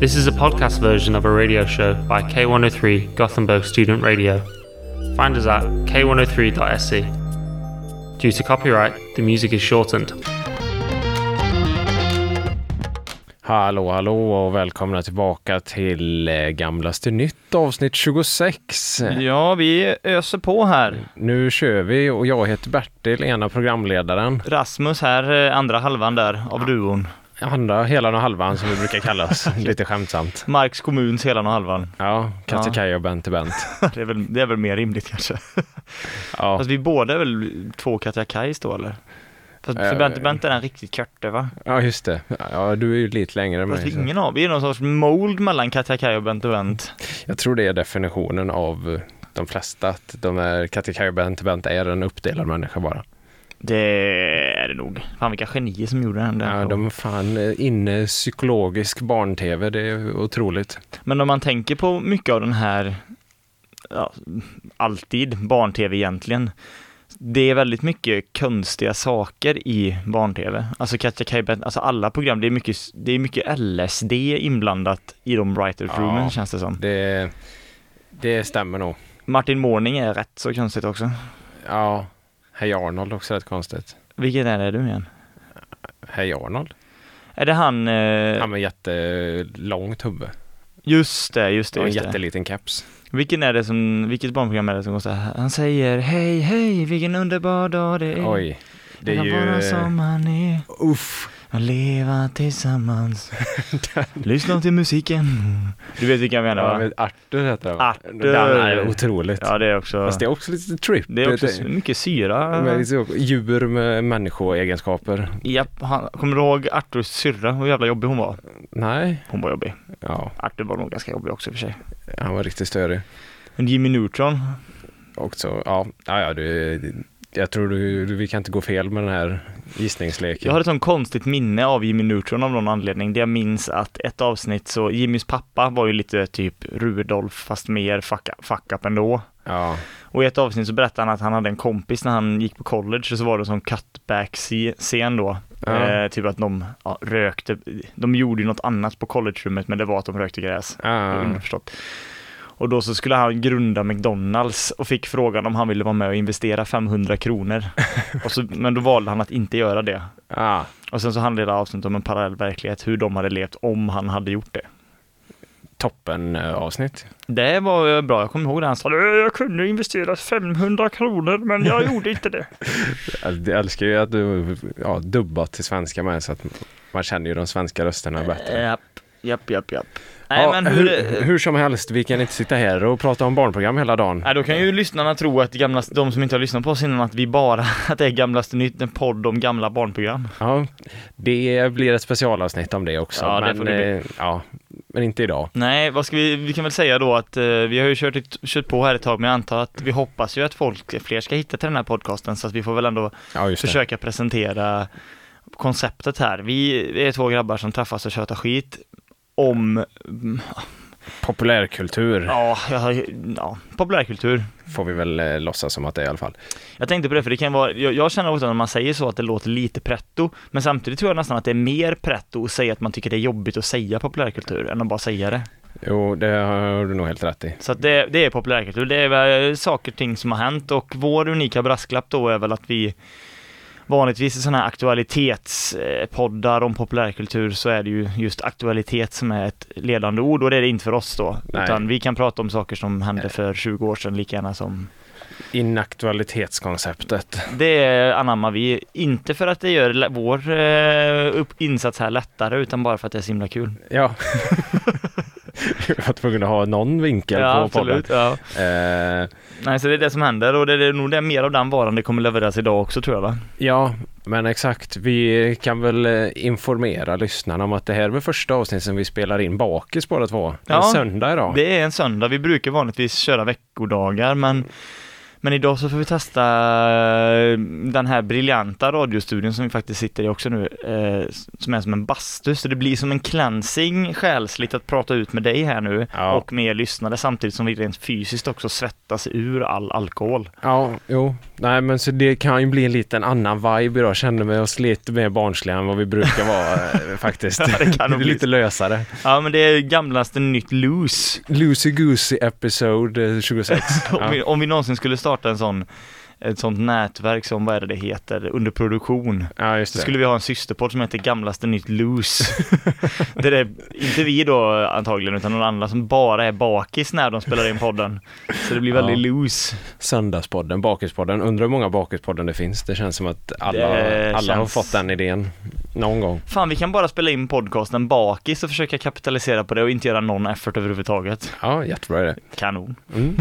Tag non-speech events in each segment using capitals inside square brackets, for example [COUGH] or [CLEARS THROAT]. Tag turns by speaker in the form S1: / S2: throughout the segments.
S1: This is a podcast version of a radio show by K103 Gothenburg Student Radio. Find us at k103.se. E. Due to copyright, the music is shortened.
S2: Hallå, hallå och välkomna tillbaka till eh, Gamlaste Nytt avsnitt 26.
S3: Ja, vi öser på här.
S2: Nu kör vi och jag heter Bertil, ena programledaren.
S3: Rasmus här, eh, andra halvan där av duon.
S2: Andra helan och halvan som vi brukar
S3: [LAUGHS]
S2: kallas, lite skämtsamt.
S3: Marks kommuns hela och halvan. [LAUGHS]
S2: Ja, Katja
S3: Ja.
S2: Kaj och Bente Bent.
S3: Det är, väl, det är väl mer rimligt kanske.
S2: Ja,
S3: Fast vi båda är väl två Katja Kajs då eller? Fast för
S2: Eh,
S3: Bente Bente är den riktigt korte va?
S2: ja just det. Ja, du är ju lite längre än
S3: Fast
S2: mig.
S3: vi,
S2: så-
S3: ingen av, vi är någon sorts mold mellan Katja Kaj och Bente Bent.
S2: Jag tror det är definitionen av eh, de flesta, att de är, Katja Kaj och Bente Bent är en uppdelad människa bara.
S3: Det är det nog. Fan vilka genier som gjorde den där.
S2: Ja, de är fan eh, inne psykologisk barn-tv, det är otroligt.
S3: Men om man tänker på mycket av den här, ja, alltid barn-tv egentligen, det är väldigt mycket konstiga saker i barn-tv. Alltså Katja Kajben, alltså alla program, det är mycket, det är mycket LSD inblandat i de writers
S2: Ja.
S3: roomen känns det som.
S2: Det, det stämmer nog.
S3: Martin Mårning är rätt så konstigt också.
S2: Ja, Hej Arnold också rätt konstigt.
S3: Vilken är det du igen?
S2: Hej Arnold.
S3: Är det han, eh,
S2: Han med jättelång tubbe
S3: just det, just det,
S2: och en
S3: just det.
S2: jätteliten keps.
S3: Vilken är det som, vilket barnprogram är det som går så här? Han säger hej, hej, vilken underbar dag det är.
S2: Oj, det är
S3: Kan vara
S2: ju...
S3: som han är.
S2: Uff.
S3: Och leva [LAUGHS] tillsammans. Lyssna till musiken. Du vet vilka jag menar
S2: Ja,
S3: va?
S2: men Arthur heter han.
S3: Arthur.
S2: Den är otroligt.
S3: Ja, det är också...
S2: Fast det är också lite trip.
S3: Det är också
S2: Det-
S3: mycket syra.
S2: men liksom djur med människoegenskaper.
S3: Japp, han, kommer du ihåg Arturs syrra? Hur jävla jobbig hon var?
S2: Nej,
S3: Hon var jobbig.
S2: ja,
S3: Artur var nog ganska jobbig också i och för sig.
S2: han var riktigt störig.
S3: Men Jimmy Neutron,
S2: Också, ja, ja, ja du, jag tror du, du, vi kan inte gå fel med den här gissningsleken.
S3: jag har ett sånt konstigt minne av Jimmy Neutron av någon anledning. Det jag minns att ett avsnitt så, Jimmys pappa var ju lite typ Rudolf fast mer fuck, fuck up ändå.
S2: Ja,
S3: Och i ett avsnitt så berättade han att han hade en kompis när han gick på college och så var det en sån cutback-scen då.
S2: Ja.
S3: Eh, typ att de ja, rökte, de gjorde ju något annat på collegerummet men det var att de rökte gräs.
S2: ja.
S3: Underförstått. Och då så skulle han grunda McDonalds och fick frågan om han ville vara med och investera
S2: [LAUGHS]
S3: 500 kronor. Och så, men då valde han att inte göra det.
S2: ja.
S3: Och sen så handlade avsnittet om en parallell verklighet, hur de hade levt om han hade gjort det.
S2: toppen eh, avsnitt.
S3: Det var eh, bra, jag kommer ihåg det han sa. Jag kunde investera 500 kronor
S2: [LAUGHS]
S3: men jag gjorde inte det.
S2: Jag älskar ju att du ja, dubbat till svenska med så att man känner ju de svenska rösterna bättre.
S3: Japp, japp, japp, japp. Eh, Nej men hur...
S2: hur, hur som helst, vi kan inte sitta här och prata om barnprogram hela dagen.
S3: Nej, då kan ju lyssnarna tro att gamla, de som inte har lyssnat på oss innan, att vi bara, [LAUGHS] att det är Gamlaste Nytt, en podd om gamla barnprogram.
S2: Ja, det blir ett specialavsnitt om det också.
S3: Ja, det
S2: men,
S3: får det bli.
S2: eh, ja, men inte idag.
S3: Nej, vad ska vi, vi kan väl säga då att eh, vi har ju kört, ett, kört på här ett tag, men jag antar att vi hoppas ju att folk, eh, fler ska hitta till den här podcasten, så att vi får väl ändå
S2: Ja, just det.
S3: försöka presentera konceptet här. Vi är två grabbar som träffas och tjötar skit om, mm,
S2: Populärkultur
S3: ja, jag- ja populärkultur.
S2: får vi väl eh, låtsas som att det är i alla fall.
S3: Jag tänkte på det, för det kan vara, jag, jag känner ofta när man säger så att det låter lite pretto, men samtidigt tror jag nästan att det är mer pretto att säga att man tycker det är jobbigt att säga populärkultur än att bara säga det.
S2: Jo, det har du nog helt rätt i.
S3: Så att det, det är populärkultur, det är väl saker och ting som har hänt och vår unika brasklapp då är väl att vi vanligtvis i sådana här aktualitetspoddar om populärkultur så är det ju just aktualitet som är ett ledande ord och det är det inte för oss då.
S2: Nej.
S3: Utan vi kan prata om saker som hände för 20 år sedan lika gärna som
S2: Inaktualitetskonceptet.
S3: Det anammar vi, inte för att det gör lä- vår eh, upp- insats här lättare utan bara för att det är så himla kul.
S2: Ja. [LAUGHS] Jag var tvungen att ha någon vinkel på podden.
S3: Ja.
S2: Eh,
S3: Nej, så det är det som händer och det är nog det mer av den varan det kommer levereras idag också tror jag va?
S2: Ja, men exakt. Vi kan väl eh, informera lyssnarna om att det här är väl första avsnittet som vi spelar in bakis båda två. Det är
S3: Ja,
S2: söndag idag.
S3: Det är en söndag, vi brukar vanligtvis köra veckodagar men men idag så får vi testa eh, den här briljanta radiostudion som vi faktiskt sitter i också nu, eh, som är som en bastu. Så det blir som en cleansing själsligt att prata ut med dig här nu
S2: Ja.
S3: och med er lyssnare samtidigt som vi rent fysiskt också svettas ur all alkohol.
S2: Ja, jo, nej men så det kan ju bli en liten annan vibe idag. Känner mig oss lite mer barnsliga än vad vi brukar vara
S3: [LAUGHS]
S2: eh, faktiskt.
S3: Ja, det kan nog bli
S2: [LAUGHS] lite lösare.
S3: Ja men det är gamlaste nytt loose.
S2: Lucy Goosey Episode eh, 26.
S3: [LAUGHS] Om,
S2: ja.
S3: vi, om vi någonsin skulle starta en sån, ett sånt nätverk som, vad är det det heter, under produktion.
S2: ja, just
S3: Så
S2: det.
S3: skulle vi ha en systerpodd som heter Gamlaste Nytt Loose. [LAUGHS] Där det är inte vi då antagligen, utan någon annan som bara är bakis när de spelar in podden. Så det blir väldigt loose.
S2: Söndagspodden, Bakispodden. Undrar hur många Bakispodden det finns. Det känns som att alla,
S3: Det
S2: alla har
S3: känns-
S2: fått den idén någon gång.
S3: Fan, vi kan bara spela in podcasten bakis och försöka kapitalisera på det och inte göra någon effort överhuvudtaget.
S2: Ja, jättebra idé.
S3: Kanon.
S2: Mm.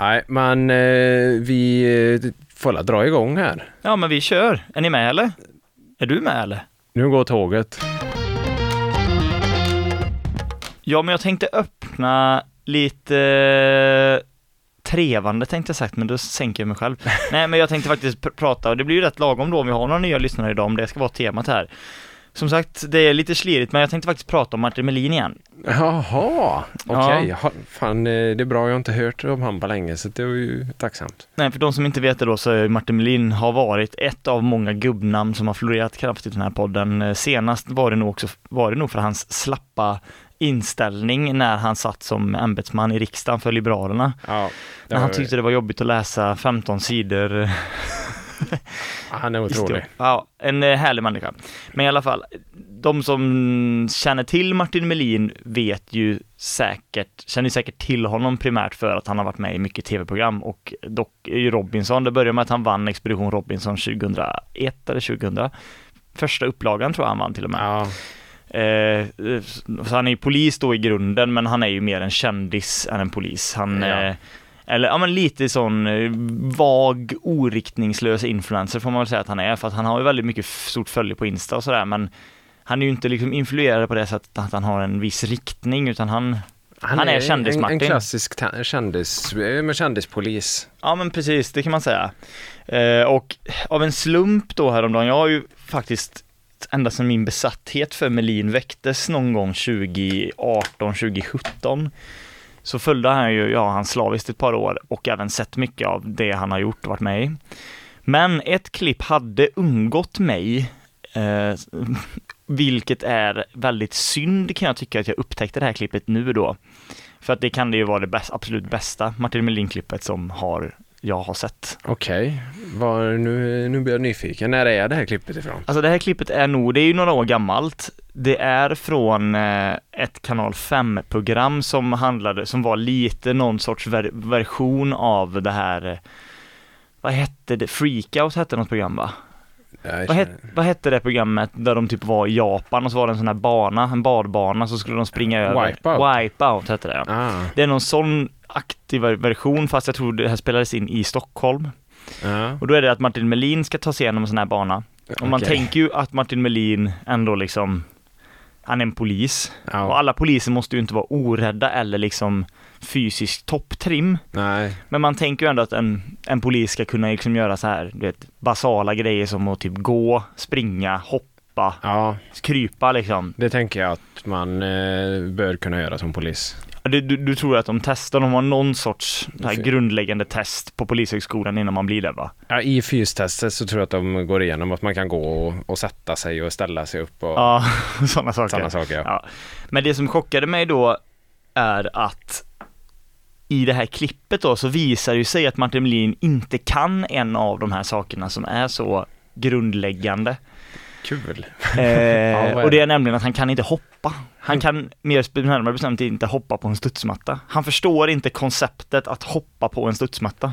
S2: Nej, men eh, vi eh, får la dra igång här.
S3: Ja, men vi kör. Är ni med eller? Är du med eller?
S2: Nu går tåget.
S3: Ja, men jag tänkte öppna lite eh, trevande tänkte jag sagt, men då sänker jag mig själv. Nej, men jag tänkte faktiskt pr- prata, och det blir ju rätt lagom då om vi har några nya lyssnare idag, om det ska vara temat här. Som sagt, det är lite slirigt, men jag tänkte faktiskt prata om Martin Melin igen.
S2: Jaha, okej.
S3: Ja.
S2: Ha- Fan, eh, det är bra jag har inte hört om han på länge så det var ju tacksamt.
S3: Nej, för de som inte vet det då så är Martin Melin har varit ett av många gubbnamn som har florerat kraftigt i den här podden. Eh, Senast var det nog också, var det nog för hans slappa inställning när han satt som ämbetsman i riksdagen för Liberalerna.
S2: Ja, det
S3: När han
S2: var-
S3: tyckte det var jobbigt att läsa 15 sidor eh,
S2: han är otrolig.
S3: Historia. Ja, en eh, härlig människa. Men i alla fall, de som känner till Martin Melin vet ju säkert, känner ju säkert till honom primärt för att han har varit med i mycket tv-program och dock i Robinson. Det började med att han vann Expedition Robinson 2001 eller 2000. Första upplagan tror jag han vann till och med.
S2: Ja,
S3: Eh, så han är ju polis då i grunden, men han är ju mer en kändis än en polis. Han,
S2: Ja.
S3: eh, eller ja men lite sån eh, vag, oriktningslös influencer får man väl säga att han är, för att han har ju väldigt mycket f- stort följe på Insta och sådär, men han är ju inte liksom influerad på det sättet att han har en viss riktning, utan han, Han är
S2: en, en
S3: kändis-Martin.
S2: klassisk ta- kändis, eh, men kändispolis.
S3: ja men precis, det kan man säga. Eh, och av en slump då häromdagen, jag har ju faktiskt ända sedan min besatthet för Melin väcktes någon gång 2018, 2017 så följde han ju, ja, han slaviskt ett par år och även sett mycket av det han har gjort och varit med i. Men ett klipp hade undgått mig, eh, [LAUGHS] vilket är väldigt synd kan jag tycka att jag upptäckte det här klippet nu då. För att det kan det ju vara det bäst, absolut bästa Martin Melin-klippet som har, jag har sett.
S2: Okej, Var- nu, nu blir jag nyfiken. När är det här klippet ifrån?
S3: Alltså det här klippet är nog, det är ju några år gammalt. Det är från eh, ett kanal 5-program som handlade, som var lite någon sorts ver- version av det här, eh, vad hette det, Freakout hette något program va?
S2: Jag
S3: Vad, het,
S2: känner-
S3: vad hette det programmet där de typ var i Japan och så var det en sån här bana, en badbana, så skulle de springa över.
S2: Wipeout.
S3: Wipeout hette det ja.
S2: Ah,
S3: Det är någon sån aktiv ver- version fast jag tror det här spelades in i Stockholm.
S2: ja.
S3: Och då är det att Martin Melin ska ta sig igenom en sån här bana. Och man
S2: Okej.
S3: tänker ju att Martin Melin ändå liksom, han är en polis. Och
S2: ja.
S3: alla poliser måste ju inte vara orädda eller liksom fysiskt topptrim.
S2: Nej,
S3: Men man tänker ju ändå att en, en polis ska kunna liksom göra så här, du vet, basala grejer som att typ gå, springa, hoppa,
S2: ja,
S3: krypa liksom.
S2: det tänker jag att man eh, bör kunna göra som polis.
S3: Du, du, du tror att de testar, de har någon sorts så här
S2: Fy-
S3: grundläggande test på polishögskolan innan man blir där va?
S2: Ja, I fystestet så tror jag att de går igenom att man kan gå och, och sätta sig och ställa sig upp och
S3: Ja, [LAUGHS] sådana saker.
S2: sådana saker. Ja.
S3: Ja. Men det som chockade mig då är att i det här klippet då så visar det ju sig att Martin Melin inte kan en av de här sakerna som är så
S2: [LAUGHS]
S3: grundläggande.
S2: Kul.
S3: Eh,
S2: vad är det? Mm.
S3: och det är nämligen att han kan inte hoppa. Han kan mer spe- närmare bestämt inte hoppa på en studsmatta. Han förstår inte konceptet att hoppa på en studsmatta.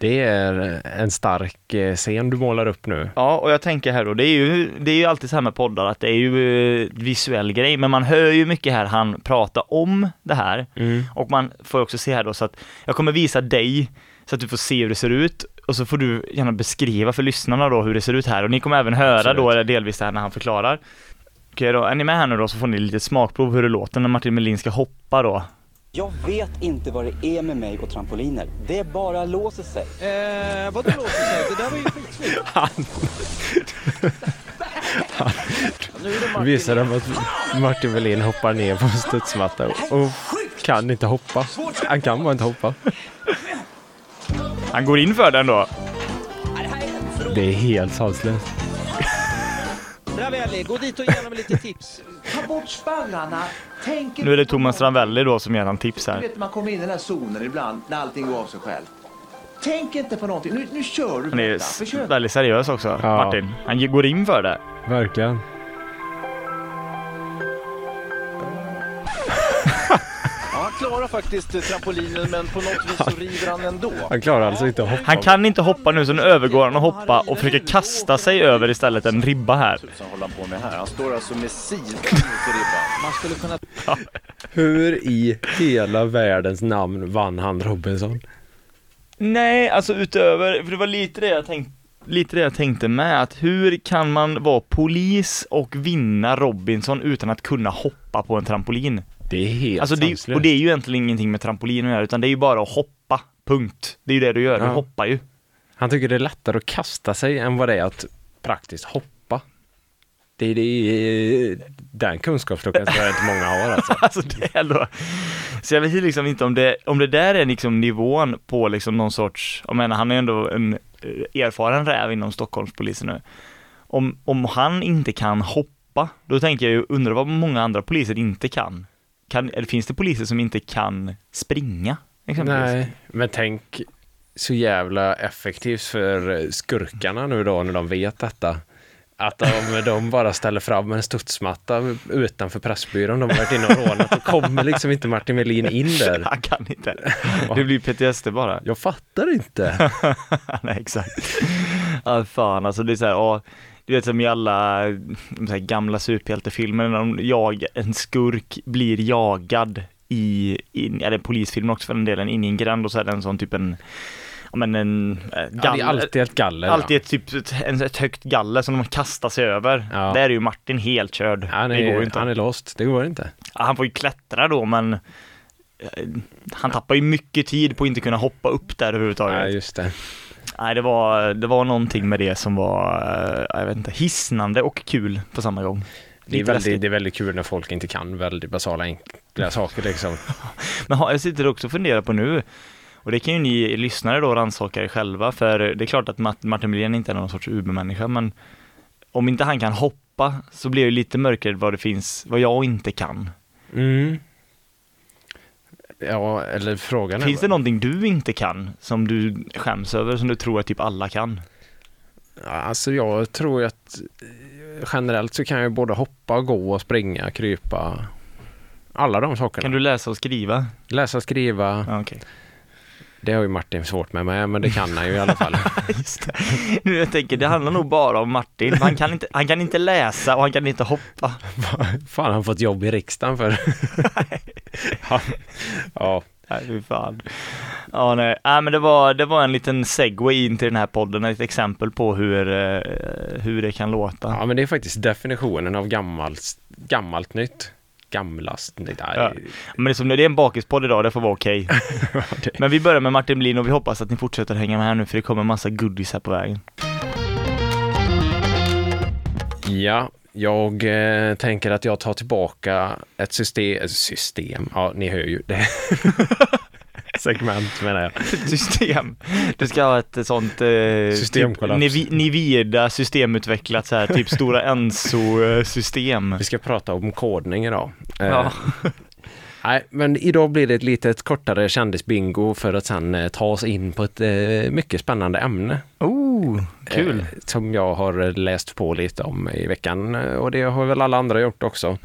S2: Det är en stark eh, scen du målar upp nu.
S3: Ja, och jag tänker här då, det är ju, det är ju alltid så här med poddar att det är ju eh, visuell grej, men man hör ju mycket här han pratar om det här. Och man får också se här då så att jag kommer visa dig så att du får se hur det ser ut och så får du gärna beskriva för lyssnarna då hur det ser ut här och ni kommer även höra då delvis det här när han förklarar. Okej då, är ni med här nu då så får ni lite smakprov hur det låter när Martin Melin ska hoppa då.
S4: Jag vet inte vad det är med mig och trampoliner. Det bara låser sig.
S5: Eh, vadå låter sig? Det där var ju skitsnyggt.
S2: Du visar dem att Martin Melin hoppar ner på en studsmatta och- och kan inte hoppa. Han kan bara inte hoppa.
S3: Han går in för den då.
S2: Det är helt sanslöst.
S5: Ravelli, gå dit och ge honom lite tips.
S6: Ta bort spärrarna. Tänk
S3: Nu är det Thomas Ravelli då som ger han tips
S6: Du
S3: här.
S6: vet, man kommer in i den här zonen ibland när allting går av sig själv. Tänk inte på någonting. Nu, nu kör du.
S3: Han är
S6: detta.
S3: s-
S6: Försök.
S3: väldigt seriös också,
S2: Ja.
S3: Martin. Han ju- går in för det.
S2: Verkligen.
S5: Ja, han klarar faktiskt eh, trampolinen men på något vis så river han
S3: [LAUGHS]
S5: ändå.
S2: Han klarar alltså inte att hoppa.
S3: Han kan inte hoppa nu så nu övergår han att hoppa och försöker kasta sig över istället en ribba här.
S6: Tusan håller han på med här. Han står alltså med sidan mot ribban.
S5: Man skulle kunna
S2: Hur i hela världens namn vann han Robinson?
S3: Nej, alltså utöver, för det var lite det jag tänkte Lite det jag tänkte med, att hur kan man vara polis och vinna Robinson utan att kunna hoppa på en trampolin?
S2: Det är helt
S3: Alltså det,
S2: sanslöst.
S3: och det är ju egentligen ingenting med trampolin att göra, utan det är ju bara att hoppa. Punkt. Det är ju det du gör,
S2: Ja.
S3: du hoppar ju.
S2: Han tycker det är lättare att kasta sig än vad det är att praktiskt hoppa. Det är, det är den kunskapsluckan tror jag inte många har
S3: [LAUGHS]
S2: alltså.
S3: Alltså det är ändå... Så jag vet ju liksom inte om det, om det där är liksom nivån på liksom någon sorts, jag menar han är ju ändå en eh, erfaren räv inom Stockholmspolisen nu. Om, om han inte kan hoppa, då tänker jag ju, undrar vad många andra poliser inte kan. kan eller finns det poliser som inte kan springa? Exempelvis?
S2: Nej, men tänk så jävla effektivt för skurkarna nu då när de vet detta. Att de, de bara ställer fram en studsmatta utanför Pressbyrån, de har varit inne och rånat, då kommer liksom inte Martin Melin in där.
S3: Han kan inte. Det blir PTSD bara.
S2: Jag fattar inte.
S3: [LAUGHS] Nej, exakt. Ja, fan alltså det är så här, ja, du vet som i alla så här, gamla superhjältefilmer när de jag, en skurk blir jagad i, in, eller polisfilmer också för den delen, in i en gränd och så är det en sån typ en, ja men en, eh,
S2: Ja, det är
S3: galler,
S2: alltid ett galler.
S3: alltid ett, typ, ett, en- ett högt galler som de kastar sig över.
S2: Ja.
S3: Där är ju Martin helt körd.
S2: ja. Han,
S3: det går ju
S2: är,
S3: inte.
S2: han är lost, det går inte.
S3: Ja, Han får ju klättra då men eh, han tappar ju mycket tid på att inte kunna hoppa upp där överhuvudtaget.
S2: Nej, just det.
S3: Nej, det var, det var någonting med det som var, eh, jag vet inte, hisnande och kul på samma gång.
S2: Det är,
S3: Lite
S2: väldigt,
S3: läskigt.
S2: det är väldigt kul när folk inte kan väldigt basala enkla saker liksom.
S3: Men ha- jag sitter också och funderar på nu, och det kan ju ni lyssnare då rannsaka er själva, för det är klart att Mart- Martin Melin inte är någon sorts Uber-människa, men om inte han kan hoppa så blir jag ju lite mörkare vad det finns, vad jag inte kan.
S2: Mm. Ja, eller frågan
S3: Finns det någonting du inte kan, som du skäms över, som du tror att typ alla kan?
S2: Ja, Alltså jag tror ju att eh, generellt så kan jag både hoppa, gå, och springa, krypa. Alla de sakerna.
S3: Kan du läsa och skriva?
S2: Läsa, skriva.
S3: Ja, okej.
S2: Det har ju Martin svårt med, men- men det kan han ju i alla
S3: [LAUGHS]
S2: fall.
S3: Just det. Nu jag tänker, det handlar nog bara om Martin, han kan, inte, han kan inte läsa och han kan inte hoppa.
S2: Fan, han har fått jobb i riksdagen för.
S3: [LAUGHS]
S2: ja. ja,
S3: Nej, fy fan. Ja, nej. nej men det var, det var en liten segway in till den här podden, ett exempel på hur, eh, hur det kan låta.
S2: Ja, men det är faktiskt definitionen av gammalt, gammalt nytt. Gamlast nytt. Nej,
S3: Ja. Men det är, som, det är en bakispodd idag, det får vara okej.
S2: [LAUGHS]
S3: Men vi börjar med Martin Blin och vi hoppas att ni fortsätter hänga med här nu för det kommer massa goodies här på vägen. [LAUGHS]
S2: Ja, jag eh, tänker att jag tar tillbaka ett system, system, ja ni hör ju det. [LAUGHS] Segment menar jag.
S3: System. Du ska ha ett sånt eh,
S2: Systemkollaps.
S3: Typ, Nivi- Nivida systemutvecklat så här, typ
S2: [LAUGHS]
S3: Stora eh, Enso-system.
S2: Vi ska prata om kodning idag. Eh,
S3: Ja.
S2: Nej, men idag blir det ett litet kortare kändisbingo för att sen eh, ta oss in på ett eh, mycket spännande ämne.
S3: Oh, kul.
S2: Eh, som jag har eh, läst på lite om i veckan eh, och det har väl alla andra gjort också.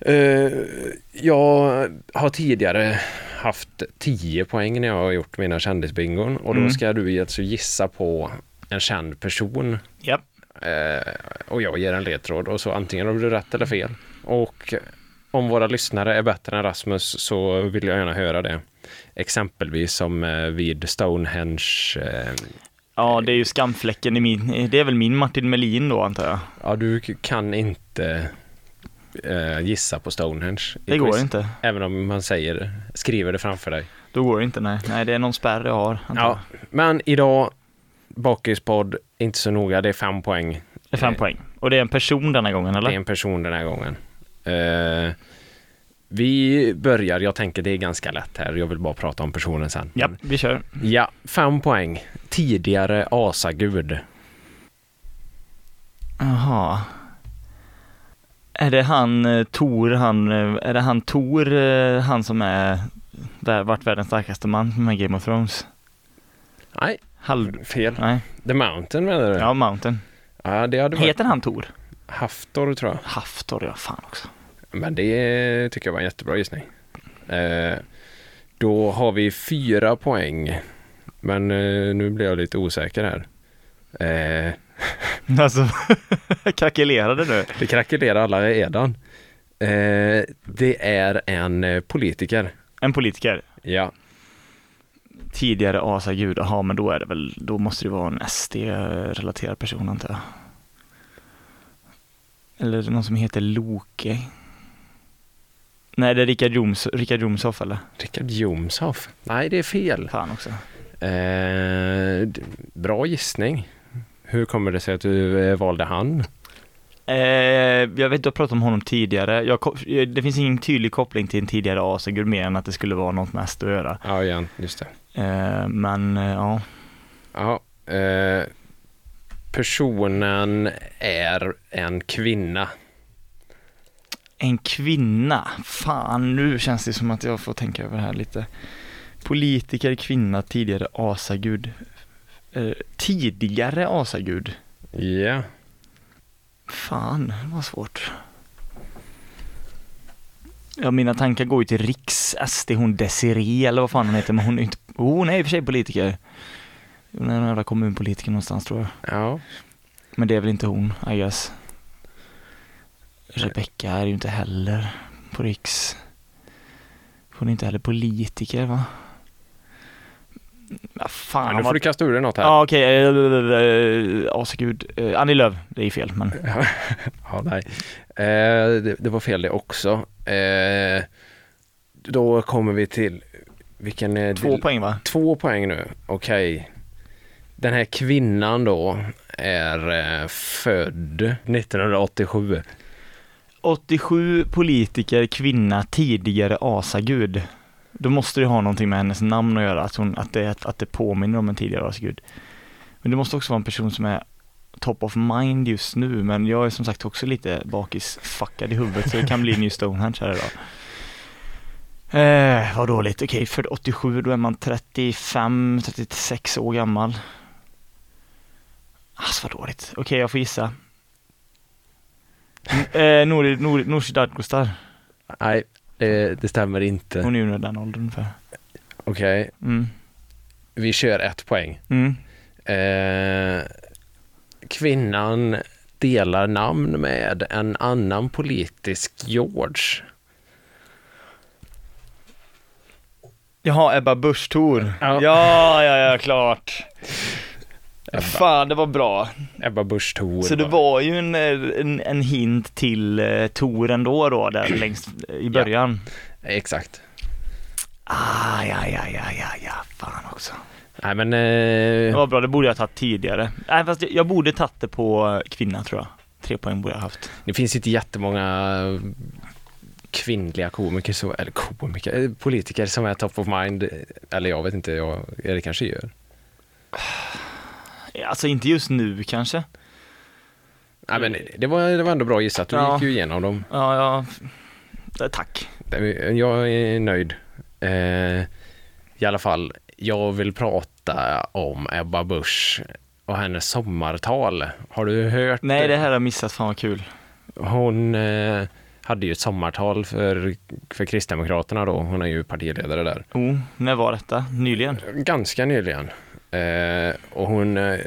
S2: Eh, jag har tidigare haft 10 poäng när jag har gjort mina kändisbingon och då
S3: Mm.
S2: ska du alltså gissa på en känd person
S3: Japp.
S2: eh, och jag ger en ledtråd och så antingen har du rätt eller fel. Och om våra lyssnare är bättre än Rasmus så vill jag gärna höra det. Exempelvis som eh, vid Stonehenge eh,
S3: Ja, det är ju skamfläcken i min, det är väl min Martin Melin då antar jag.
S2: Ja, du k- kan inte eh, gissa på Stonehenge. i
S3: Det går
S2: quiz.
S3: inte.
S2: Även om man säger, skriver det framför dig.
S3: Då går det inte, nej. Nej, det är någon spärr jag har. antar jag.
S2: Ja, men idag, bakispodd, inte så noga, det är fem poäng.
S3: Det är fem
S2: Eh,
S3: poäng. Och det är en person denna gången,
S2: Det är
S3: eller?
S2: en person den här gången. Eh, Vi börjar, jag tänker det är ganska lätt här, jag vill bara prata om personen sen.
S3: Ja, vi kör.
S2: Ja, fem poäng. Tidigare asagud.
S3: Jaha. Är det han eh, Tor, han, eh, är det han Tor, eh, han som är, där, vart världens starkaste man med Game of Thrones?
S2: Nej,
S3: Halv...
S2: fel.
S3: Nej,
S2: The Mountain menar du?
S3: ja Mountain.
S2: ja det hade varit
S3: Heter han Tor?
S2: Haftor tror jag.
S3: Haftor, ja fan också. [LAUGHS]
S2: Men det tycker jag var en jättebra gissning. Eh, då har vi fyra poäng. Men eh, nu blir jag lite osäker här. Eh,
S3: Alltså, [LAUGHS] krackelerade nu.
S2: det krackelerar alla redan. Eh, det är en eh, politiker.
S3: En politiker.
S2: Ja,
S3: Tidigare asagud, jaha men då är det väl, då måste det vara en SD-relaterad person antar jag. Eller någon som heter Loke. Nej, det är Richard, Joms, Richard Jomshoff eller?
S2: Richard Jomshoff. Nej, det är fel.
S3: Fan också.
S2: Eh, d- bra gissning. Hur kommer det sig att du eh, valde han?
S3: Eh, jag vet, du har pratat om honom tidigare. Jag, ko- eh, det finns ingen tydlig koppling till en tidigare asagud mer än att det skulle vara något med SD att göra.
S2: Ja, igen, just det.
S3: Eh, men eh, ja,
S2: Ja, eh, personen är en kvinna.
S3: en kvinna. Fan, nu känns det som att jag får tänka över det här lite. Politiker, kvinna, tidigare asagud. Eh, tidigare asagud.
S2: Ja,
S3: Fan, det var svårt. Ja, mina tankar går ju till Riks, SD, hon Desiree eller vad fan hon heter, men hon är inte, oh, hon är i och för sig politiker. Hon är någon jävla kommunpolitiker någonstans tror jag.
S2: ja.
S3: Men det är väl inte hon, I guess. Rebecca är ju inte heller på Riks. Hon är inte heller politiker va? Ja, fan,
S2: nu får
S3: vad...
S2: du kasta ur dig något här.
S3: Ja okej, eh, eh, asgud. Eh, Annie Lööf, det är fel men.
S2: Ja, nej. Eh, det, det var fel det också. Eh, då kommer vi till, vilken är
S3: Två
S2: del-
S3: poäng va?
S2: Två poäng nu, okej. Den här kvinnan då är eh, född 1987.
S3: 87 politiker, kvinna, tidigare asagud. Då måste det ha någonting med hennes namn att göra, att, hon, att, det, att det påminner om en tidigare asagud. Men det måste också vara en person som är top of mind just nu, men jag är som sagt också lite bakisfuckad i huvudet så det kan bli New Stonehenge här idag. Eh, vad dåligt, okej, för 87 då är man 35, 36 år gammal. Alltså vad dåligt, okej jag får gissa. Eh, Nouri, Nouri, Nooshi Dadgostar,
S2: Nej, eh, det, det stämmer inte.
S3: hon är ju nu den åldern ungefär.
S2: Okej,
S3: Mm.
S2: vi kör ett poäng.
S3: Mm.
S2: Eh, kvinnan delar namn med en annan politisk George.
S3: Jaha, Ebba Busch Thor.
S2: Ja.
S3: Ja. ja, ja, klart. Fan, det var bra.
S2: Ebba Busch Thor.
S3: Så det var ju en, eh, en, en hint till eh, Thor ändå då, [CLEARS THROAT] där längst i början.
S2: Exakt.
S3: Ah, ja, ja, ja, ja, ja, fan också.
S2: Nej men, eh,
S3: Det var bra, det borde jag ha tagit tidigare. Nej, fast jag, jag borde tagit det på eh, kvinna tror jag. Tre poäng borde jag haft.
S2: det finns inte jättemånga kvinnliga komiker, så, eller komiker, eh, politiker som är top of mind. Eller jag vet inte, jag, det kanske gör.
S3: Alltså inte just nu kanske.
S2: Nej men det var, det var ändå bra gissat, du
S3: Ja.
S2: gick ju igenom dem.
S3: Ja, ja. Eh, Tack.
S2: eh, Jag är nöjd. Eh, I alla fall, jag vill prata om Ebba Busch och hennes sommartal. Har du hört?
S3: Nej, det här har jag missat. Fan vad kul.
S2: Hon eh, hade ju ett sommartal för, för Kristdemokraterna då. Hon är ju partiledare där.
S3: Oh, när var detta? Nyligen?
S2: Ganska nyligen. Eh, och hon... Eh,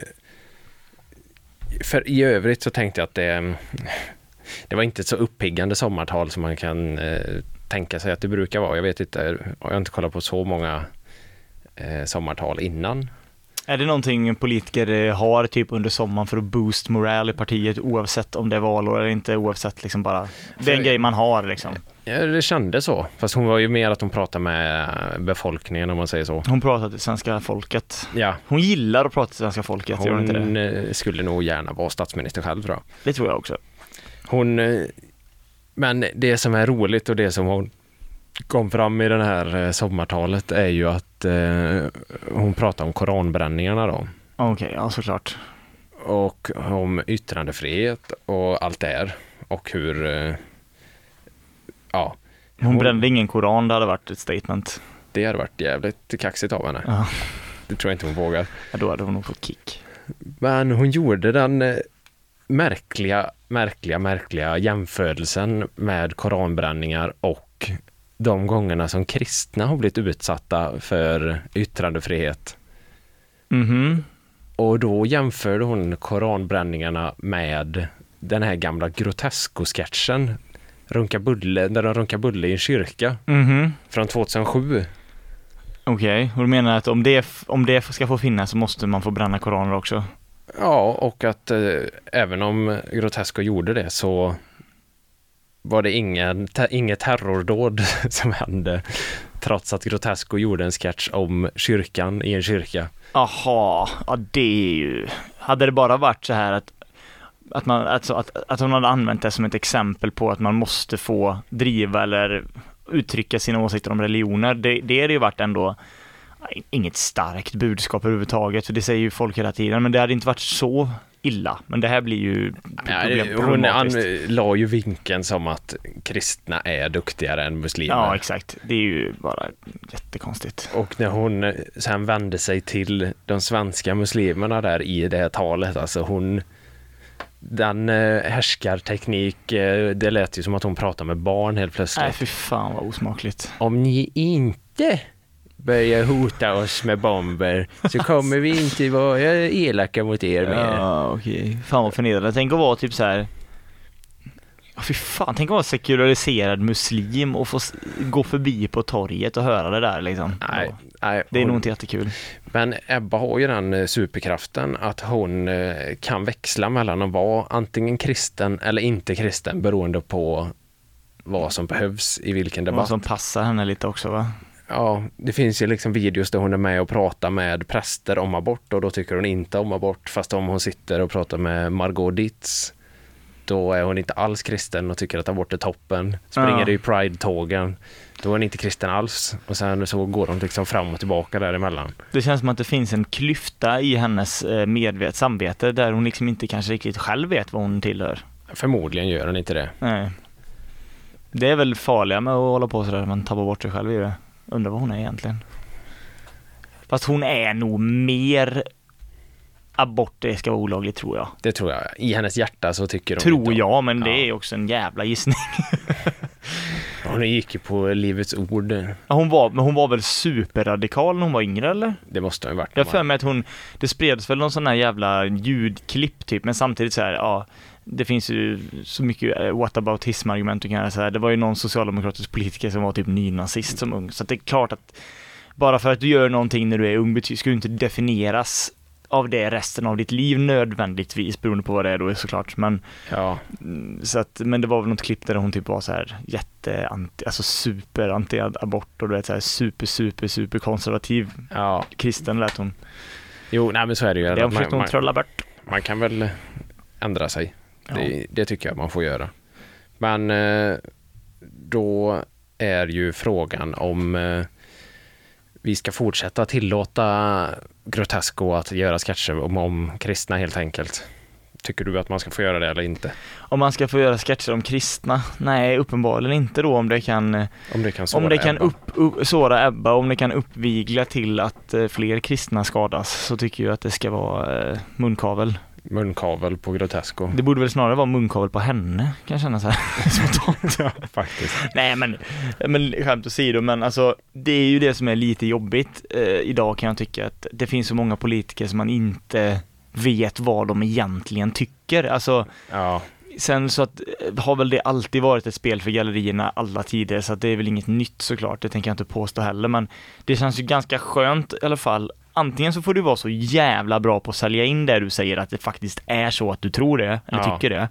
S2: för i övrigt så tänkte jag att det... Det var inte ett så uppiggande sommartal som man kan eh, tänka sig att det brukar vara. Jag vet inte, jag har inte kollat på så många eh, sommartal innan.
S3: Är det någonting politiker eh, har typ under sommaren för att boost moral i partiet oavsett om det är valår eller inte, oavsett liksom bara, det är en grej man har liksom.
S2: Ja, det kändes så. Fast hon var ju mer att hon pratade med befolkningen om man säger så.
S3: Hon pratar till svenska folket.
S2: Ja,
S3: Hon gillar att prata till svenska folket, gör hon inte det?
S2: hon eh, skulle nog gärna vara statsminister själv tror jag.
S3: Det tror jag också.
S2: Hon, eh, men det som är roligt och det som hon kom fram i det här eh, sommartalet är ju att eh, hon pratar om koranbränningarna då.
S3: Okej, ja såklart.
S2: Och om yttrandefrihet och allt det här. Och hur... eh, Ja,
S3: Hon
S2: Hon-
S3: brände ingen koran, det hade varit ett statement.
S2: det hade varit jävligt kaxigt av henne.
S3: Ja.
S2: Det tror jag inte hon vågar.
S3: Ja, då hade hon nog fått kick.
S2: Men hon gjorde den eh, märkliga, märkliga, märkliga jämförelsen med koranbränningar och de gångerna som kristna har blivit utsatta för yttrandefrihet.
S3: Mhm.
S2: Och då jämförde hon koranbränningarna med den här gamla Grotesco-sketchen Runka Bulle, där de runkar Bulle i en kyrka
S3: Mhm.
S2: från 2007.
S3: Okej, och du menar att om det, f- om det ska få finnas så måste man få bränna koraner också?
S2: Ja, och att eh, även om Grotesco gjorde det så var det ingen, te, inget terrordåd [LAUGHS] som hände trots att Grotesco gjorde en sketch om kyrkan i en kyrka.
S3: Aha, ja det är ju... Hade det bara varit så här att, att, man, alltså, att, att hon hade använt det som ett exempel på att man måste få driva eller uttrycka sina åsikter om religioner, det, det hade ju varit ändå nej, inget starkt budskap överhuvudtaget, för det säger ju folk hela tiden, men det hade inte varit så illa. Men det här blir ju problem-
S2: hon an,
S3: problematiskt.
S2: la ju vinkeln som att kristna är duktigare än muslimer.
S3: Ja, exakt. Det är ju bara jättekonstigt.
S2: och när hon eh, sen vände sig till de svenska muslimerna där i det här talet, alltså hon den eh, härskarteknik, eh, det lät ju som att hon pratade med barn helt plötsligt.
S3: Nej, fy fan vad osmakligt.
S2: Om ni inte börjar hota oss med bomber
S3: [LAUGHS]
S2: så kommer vi inte vara elaka mot er mer.
S3: Ja, okej. Fan vad förnedrande. Tänk att vara typ så här. Ja, fy fan. Tänk att vara sekulariserad muslim och få s- gå förbi på torget och höra det där liksom.
S2: Nej,
S3: Ja.
S2: nej,
S3: Det är nog
S2: hon,
S3: inte jättekul.
S2: men Ebba har ju den eh, superkraften att hon eh, kan växla mellan att vara antingen kristen eller inte kristen beroende på vad som behövs i vilken
S3: Det
S2: debatt.
S3: som passar henne lite också va?
S2: Ja, det finns ju liksom videos där hon är med och pratar med präster om abort och då tycker hon inte om abort. Fast om hon sitter och pratar med Margot Dietz då är hon inte alls kristen och tycker att abort är toppen. Springer
S3: Ja.
S2: i Pride-tågen, då är hon inte kristen alls. Och sen så går de liksom fram och tillbaka däremellan.
S3: Det känns som att det finns en klyfta i hennes eh, medvet samvete där hon liksom inte kanske riktigt själv vet vad hon tillhör.
S2: Förmodligen gör hon inte det.
S3: Nej. Det är väl farliga med att hålla på sådär, man tappar bort sig själv i det. Undrar vad hon är egentligen. Fast hon är nog mer abort, det ska vara olagligt tror jag.
S2: Det tror jag. I hennes hjärta så tycker hon inte
S3: Tror
S2: om-
S3: jag, men det
S2: Ja.
S3: är också en jävla gissning. [LAUGHS]
S2: Hon gick ju på Livets Ord.
S3: Ja, Hon var, men hon var väl superradikal när hon var yngre eller?
S2: Det måste hon ju varit.
S3: Jag har för mig att hon, det spreds väl någon sån här jävla ljudklipp typ, men samtidigt så här, ja, det finns ju så mycket eh, whataboutism-argument du kan göra så här. Det var ju någon socialdemokratisk politiker som var typ nynazist som ung, så att det är klart att bara för att du gör någonting när du är ung bety- ska du inte definieras av det resten av ditt liv nödvändigtvis, beroende på vad det är då såklart, men
S2: Ja.
S3: så att, men det var väl något klipp där hon typ var så här jätte, anti, alltså super anti abort och du vet så här super, super, super konservativ
S2: ja.
S3: kristen lät hon.
S2: Jo, nej men så är det ju.
S3: Det har hon
S2: Man-
S3: försökt hon
S2: man-
S3: trolla bort.
S2: man kan väl ändra sig. Det, det tycker jag man får göra. Men eh, då är ju frågan om eh, vi ska fortsätta tillåta Grotesco att göra sketcher om, om kristna helt enkelt. Tycker du att man ska få göra det eller inte?
S3: Om man ska få göra sketcher om kristna? Nej, uppenbarligen inte då om det kan,
S2: Om det kan såra
S3: om det kan
S2: Ebba.
S3: upp, upp, såra Ebba, om det kan uppvigla till att eh, fler kristna skadas så tycker jag att det ska vara eh, munkavel.
S2: Munkavel på Grotesco.
S3: Det borde väl snarare vara munkavel på henne, kan jag känna så
S2: [LAUGHS]
S3: här spontant. [LAUGHS]
S2: Faktiskt.
S3: Nej men, men skämt åsido, men alltså det är ju det som är lite jobbigt eh, idag kan jag tycka att det finns så många politiker som man inte vet vad de egentligen tycker. Alltså,
S2: Ja,
S3: sen så att, eh, har väl det alltid varit ett spel för gallerierna alla tider, så att det är väl inget nytt såklart, det tänker jag inte påstå heller, men det känns ju ganska skönt i alla fall. Antingen så får du vara så jävla bra på att sälja in det du säger, att det faktiskt är så att du tror det, eller
S2: Ja.
S3: tycker det,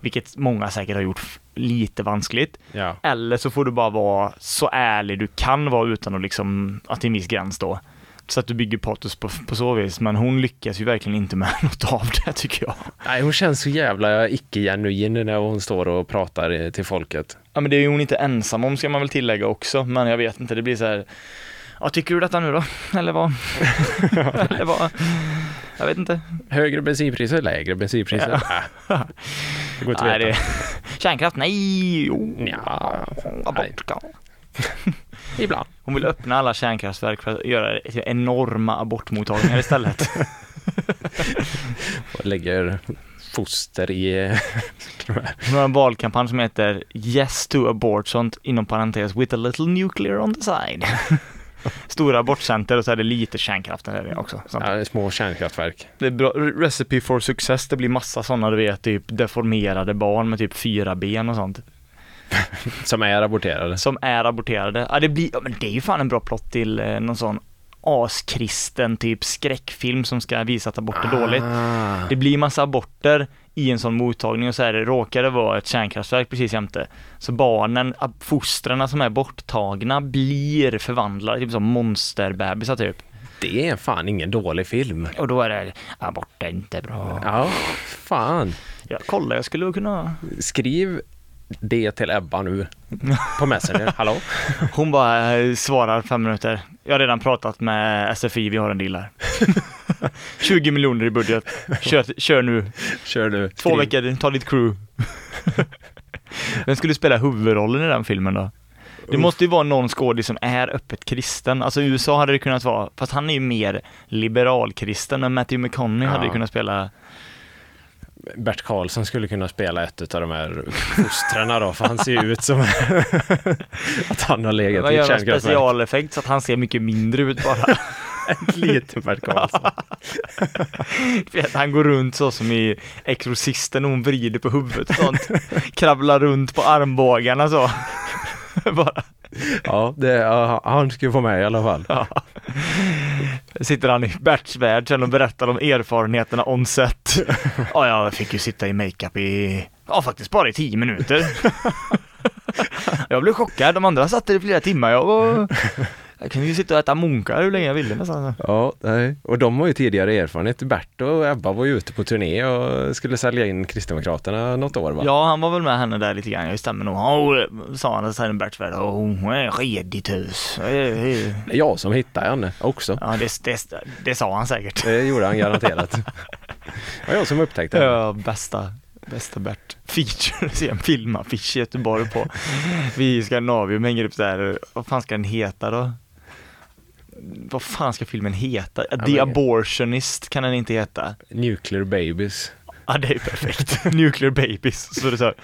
S3: vilket många säkert har gjort f- lite vanskligt.
S2: ja.
S3: Eller så får du bara vara så ärlig du kan vara utan att liksom, att det är en viss gräns då. så att du bygger patos på, på så vis, men hon lyckas ju verkligen inte med [LAUGHS] något av det tycker jag.
S2: Nej, hon känns så jävla icke-genuin när hon står och pratar eh, till folket.
S3: Ja men det är ju hon inte ensam om ska man väl tillägga också, men jag vet inte, det blir så här. Ja, tycker du detta nu då? [LAUGHS]
S2: [LAUGHS]
S3: Eller vad? Eller vad? Jag vet inte.
S2: Högre bensinpriser, lägre bensinpriser. Äh, det går inte att
S3: Nej,
S2: veta.
S3: det... [LAUGHS] Kärnkraft? Nej! Jo.
S2: Nja, nej.
S3: Abort, ja.
S2: Ibland.
S3: Hon vill öppna alla kärnkraftverk för att göra enorma abortmottagningar istället.
S2: Och lägger foster i...
S3: [LAUGHS]
S2: de här.
S3: Hon har en valkampanj som heter Yes to abort, sånt inom parentes with a little nuclear on the
S2: [LAUGHS]
S3: side. Stora abortcenter och så är det lite kärnkraft där det också. Sånt.
S2: ja, små kärnkraftverk.
S3: Det är bra, recipe for success, det blir massa sådana du vet, typ deformerade barn med typ fyra ben och sånt.
S2: Som är aborterade.
S3: Som är aborterade. Ja det blir, ja, men det är ju fan en bra plott till eh, någon sån askristen typ skräckfilm som ska visa att abort är dåligt.
S2: Ah.
S3: Det blir massa aborter i en sån mottagning och så här råkar det vara ett kärnkraftverk precis jämte. Så barnen, ab- fostrarna som är borttagna blir förvandlade, typ som monsterbebisar typ.
S2: Det är fan ingen dålig film.
S3: Och då är det, abort är inte bra.
S2: Ja, fan.
S3: Ja, kolla, jag skulle kunna
S2: Skriv det till Ebba nu. På Messenger. Hallå?
S3: Hon bara eh, svarar fem minuter. Jag har redan pratat med SFI, vi har en
S2: [LAUGHS]
S3: deal här. 20 miljoner i budget. Kör, kör nu.
S2: Kör du.
S3: Två
S2: Skriv.
S3: veckor, ta ditt crew. Vem skulle spela huvudrollen i den filmen då? Det måste ju vara någon skådis som är öppet kristen. Alltså i USA hade det kunnat vara, fast han är ju mer liberalkristen, men Matthew McConaughey hade ju
S2: Ja.
S3: kunnat spela
S2: Bert Karlsson skulle kunna spela ett av de här fostrarna då, för han ser ju ut som [LAUGHS] att han har legat
S3: Man
S2: i ett
S3: gör en
S2: typ kärnkraftverk.
S3: specialeffekt så att han ser mycket mindre ut bara.
S2: Liten Bert Karlsson.
S3: För att Han går runt så som i Exorcisten, hon vrider på huvudet och sånt. Kravlar runt på armbågarna så. [LAUGHS] Bara,
S2: Ja, det, ja, han ska ju få med i alla fall.
S3: ja. Sitter han i Berts värld sen och berättar om erfarenheterna on set. Ja, jag fick ju sitta i makeup i, ja faktiskt bara i tio minuter. Jag blev chockad, de andra satt där i flera timmar. Jag, var, jag kunde ju sitta och äta munkar hur länge jag ville nästan.
S2: Ja, nej. Och de har ju tidigare erfarenhet. Bert och Ebba var ju ute på turné och skulle sälja in Kristdemokraterna något år va?
S3: Ja, han var väl med henne där lite grann, jag stämmer nog. Oh, sa han sen i Berts värld, "Åh, hon är redigt hus. Eh, eh.
S2: Det är jag som hittade henne också.
S3: Ja, det, det, det sa han säkert.
S2: Det gjorde han
S3: [LAUGHS]
S2: garanterat. Det var jag som upptäckte henne.
S3: Ja, bästa, bästa Bert. [LAUGHS] Features i en filmaffisch i Göteborg på. Vi i Skandinavium hänger upp där, vad fan ska den heta då? Vad fan ska filmen heta? The
S2: men-
S3: Abortionist kan den inte heta.
S2: Nuclear Babies.
S3: Ja, det är ju perfekt. [LAUGHS] Nuclear babies. Så det är så här.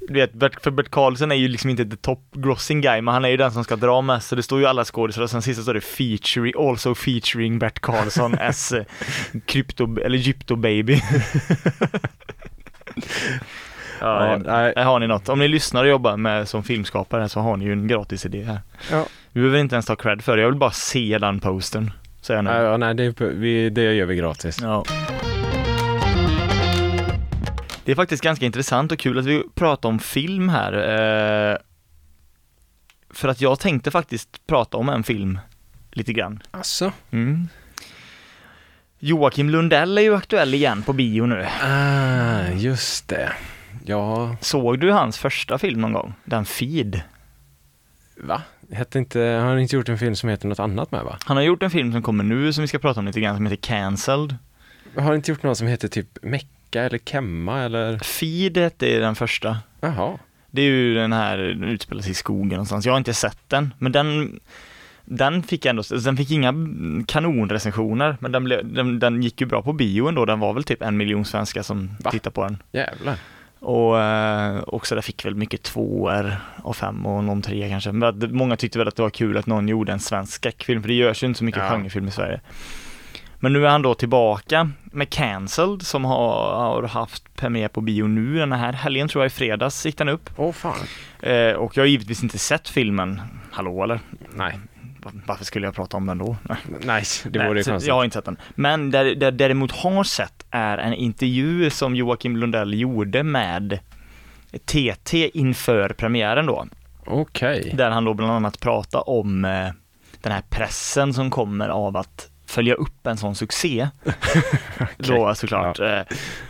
S3: Du vet, Bert, för Bert Karlsson är ju liksom inte the top grossing guy, men han är ju den som ska dra mest, så det står ju alla skådisar och sen sista står det featuring, also featuring Bert
S2: [LAUGHS]
S3: Karlsson as eh, krypto, eller gypto baby. [LAUGHS] ja,
S2: Ja, nej.
S3: här har ni något. Om ni lyssnar och jobbar med som filmskapare så har ni ju en gratis idé här.
S2: Ja.
S3: Vi behöver inte ens ta cred för det, jag vill bara se den posten. Säger jag nu.
S2: Ja, nej, det, vi, det gör vi gratis.
S3: Ja. Det är faktiskt ganska intressant och kul att vi pratar om film här. Eh, för att jag tänkte faktiskt prata om en film lite grann.
S2: Alltså.
S3: Mm. Joakim Lundell är ju aktuell igen på bio nu.
S2: Ah, just det. Ja,
S3: Såg du hans första film någon gång? Den Feed.
S2: va? Hette inte, har han inte gjort en film som heter något annat med va?
S3: Han har gjort en film som kommer nu som vi ska prata om lite grann som heter Cancelled.
S2: Har han inte gjort någon som heter typ Mecka eller Kemma eller?
S3: Feed hette den första.
S2: Jaha.
S3: Det är ju den här, den utspelar sig i skogen någonstans. Jag har inte sett den, men den, den fick ändå, den fick inga kanonrecensioner, men den, blev, den, den gick ju bra på bio ändå. Den var väl typ en miljon svenskar som
S2: Va?
S3: tittade på den.
S2: Jävlar.
S3: Och eh, också där fick väl mycket tvåor och fem och någon trea kanske. Men att, många tyckte väl att det var kul att någon gjorde en svensk skräckfilm, för det görs ju inte så mycket
S2: Ja.
S3: genrefilm i Sverige. Men nu är han då tillbaka med Cancelled som har, har haft premiär på bio nu den här helgen tror jag, i fredags gick den upp.
S2: Åh fan.
S3: Eh, och jag har givetvis inte sett filmen. Hallå eller?
S2: Nej,
S3: Va- Varför skulle jag prata om den då? Nej,
S2: nej, det vore ju
S3: så
S2: konstigt.
S3: jag har inte sett den. Men där, där däremot har sett är en intervju som Joakim Lundell gjorde med TT inför premiären då.
S2: Okej.
S3: Där han då bland annat pratade om eh, den här pressen som kommer av att följa upp en
S2: [LAUGHS]
S3: sån succé. Då såklart. Eh,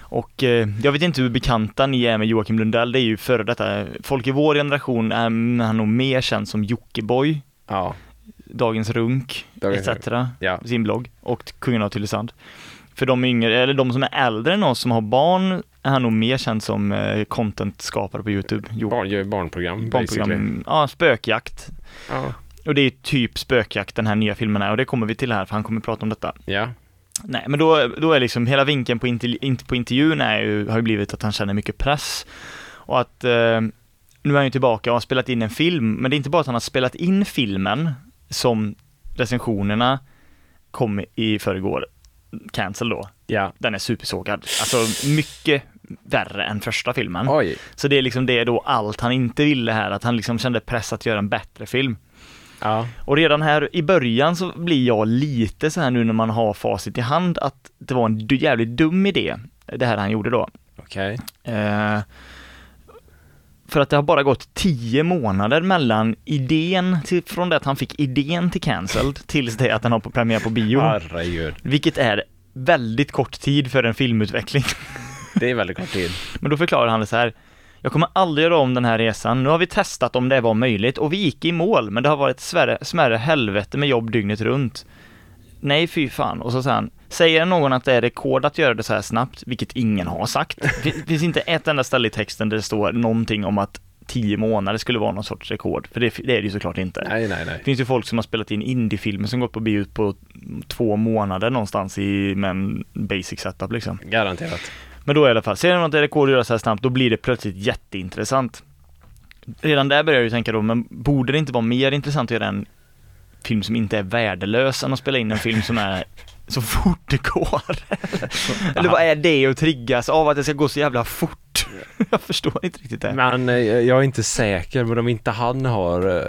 S3: Och eh, jag vet inte hur bekanta ni är med Joakim Lundell, det är ju före detta, folk i vår generation är mm, han är nog mer känd som Jockiboi,
S2: Ja,
S3: Dagens Runk,
S2: Dagens
S3: etc.
S2: ja.
S3: sin blogg och Kungen av Tylösand. För de yngre, eller de som är äldre än oss som har barn är han nog mer känd som eh, content-skapare på Youtube. Jo,
S2: Barn, gör barnprogram, basically.
S3: barnprogram, ja, spökjakt.
S2: Ja.
S3: Och det är ju typ spökjakt den här nya filmen är och det kommer vi till här för han kommer prata om detta.
S2: ja,
S3: Nej, men då, då är liksom hela vinkeln på, interl- inte på intervjun är ju, har ju blivit att han känner mycket press och att eh, nu är han ju tillbaka och har spelat in en film, men det är inte bara att han har spelat in filmen som recensionerna kom i förrgår, cancel då,
S2: ja.
S3: den är supersågad. Alltså mycket värre än första filmen.
S2: Oj,
S3: Så det är liksom det då allt han inte ville här, att han liksom kände press att göra en bättre film.
S2: ja,
S3: Och redan här i början så blir jag lite så här nu när man har facit i hand att det var en du- jävligt dum idé, det här han gjorde då.
S2: okej.
S3: Eh, för att det har bara gått tio månader mellan idén, till, från det att han fick idén till cancelled, tills det att den har på premiär på bio.
S2: Herregud.
S3: Vilket är väldigt kort tid för en filmutveckling. [LAUGHS]
S2: Det är väldigt kort tid.
S3: Men då förklarar han det så här. Jag kommer aldrig göra om den här resan. Nu har vi testat om det var möjligt och vi gick i mål, men det har varit ett smärre, smärre helvete med jobb dygnet runt. Nej, fy fan. Och så säger han, säger någon att det är rekord att göra det så här snabbt, vilket ingen har sagt. Det finns inte ett enda ställe i texten där det står någonting om att tio månader skulle vara någon sorts rekord, för det, det är det ju såklart inte.
S2: Nej, nej,
S3: Det
S2: nej.
S3: finns ju folk som har spelat in indiefilmer som gått på bio på två månader någonstans i, med en basic setup liksom.
S2: Garanterat.
S3: Men då i alla fall, ser man att det är rekord att göra så här snabbt, då blir det plötsligt jätteintressant. Redan där börjar jag ju tänka då, men borde det inte vara mer intressant att göra en film som inte är värdelös än att spela in en film som är så fort
S2: [LAUGHS]
S3: det går? Eller vad är det att triggas av att det ska gå så jävla fort? [LAUGHS] Jag förstår inte riktigt det.
S2: Men eh, jag är inte säker, men om inte han har eh,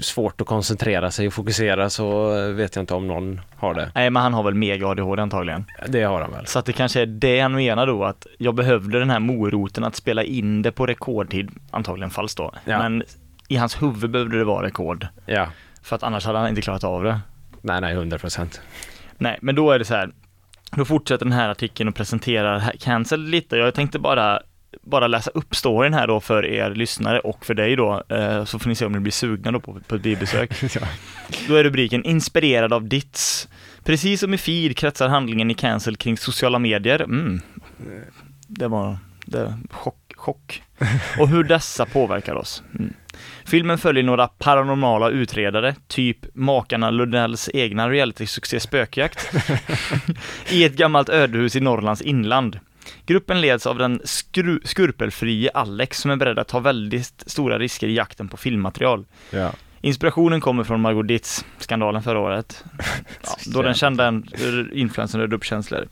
S2: svårt att koncentrera sig och fokusera så eh, vet jag inte om någon har det.
S3: Nej, men han har väl mega ADHD antagligen.
S2: Det har han väl?
S3: Så att det kanske är det han menar då, att jag behövde den här moroten att spela in det på rekordtid, antagligen falskt då.
S2: Ja.
S3: Men i hans huvud behövde det vara rekord.
S2: Ja.
S3: För att annars hade han inte klarat av det.
S2: Nej, nej, 100 procent.
S3: Nej, men då är det så här. Då fortsätter den här artikeln och presenterar cancel lite. Jag tänkte bara, bara läsa upp storyn här då för er lyssnare och för dig då, eh, så får ni se om ni blir sugna då på, på ett biobesök. Då är rubriken “Inspirerad av Dits”. Precis som i Feed kretsar handlingen i cancel kring sociala medier. Mm. Det var det, chock, chock. Och hur dessa påverkar oss. Mm. Filmen följer några paranormala utredare, typ makarna Lundells egna realitysuccé Spökjakt, i ett gammalt ödehus i Norrlands inland. Gruppen leds av den skru- skurpelfrie Alex som är beredd att ta väldigt stora risker i jakten på filmmaterial.
S2: Ja.
S3: Inspirationen kommer från Margot Ditts, skandalen förra året. Ja, då den kända en- influencern rörde upp känslor.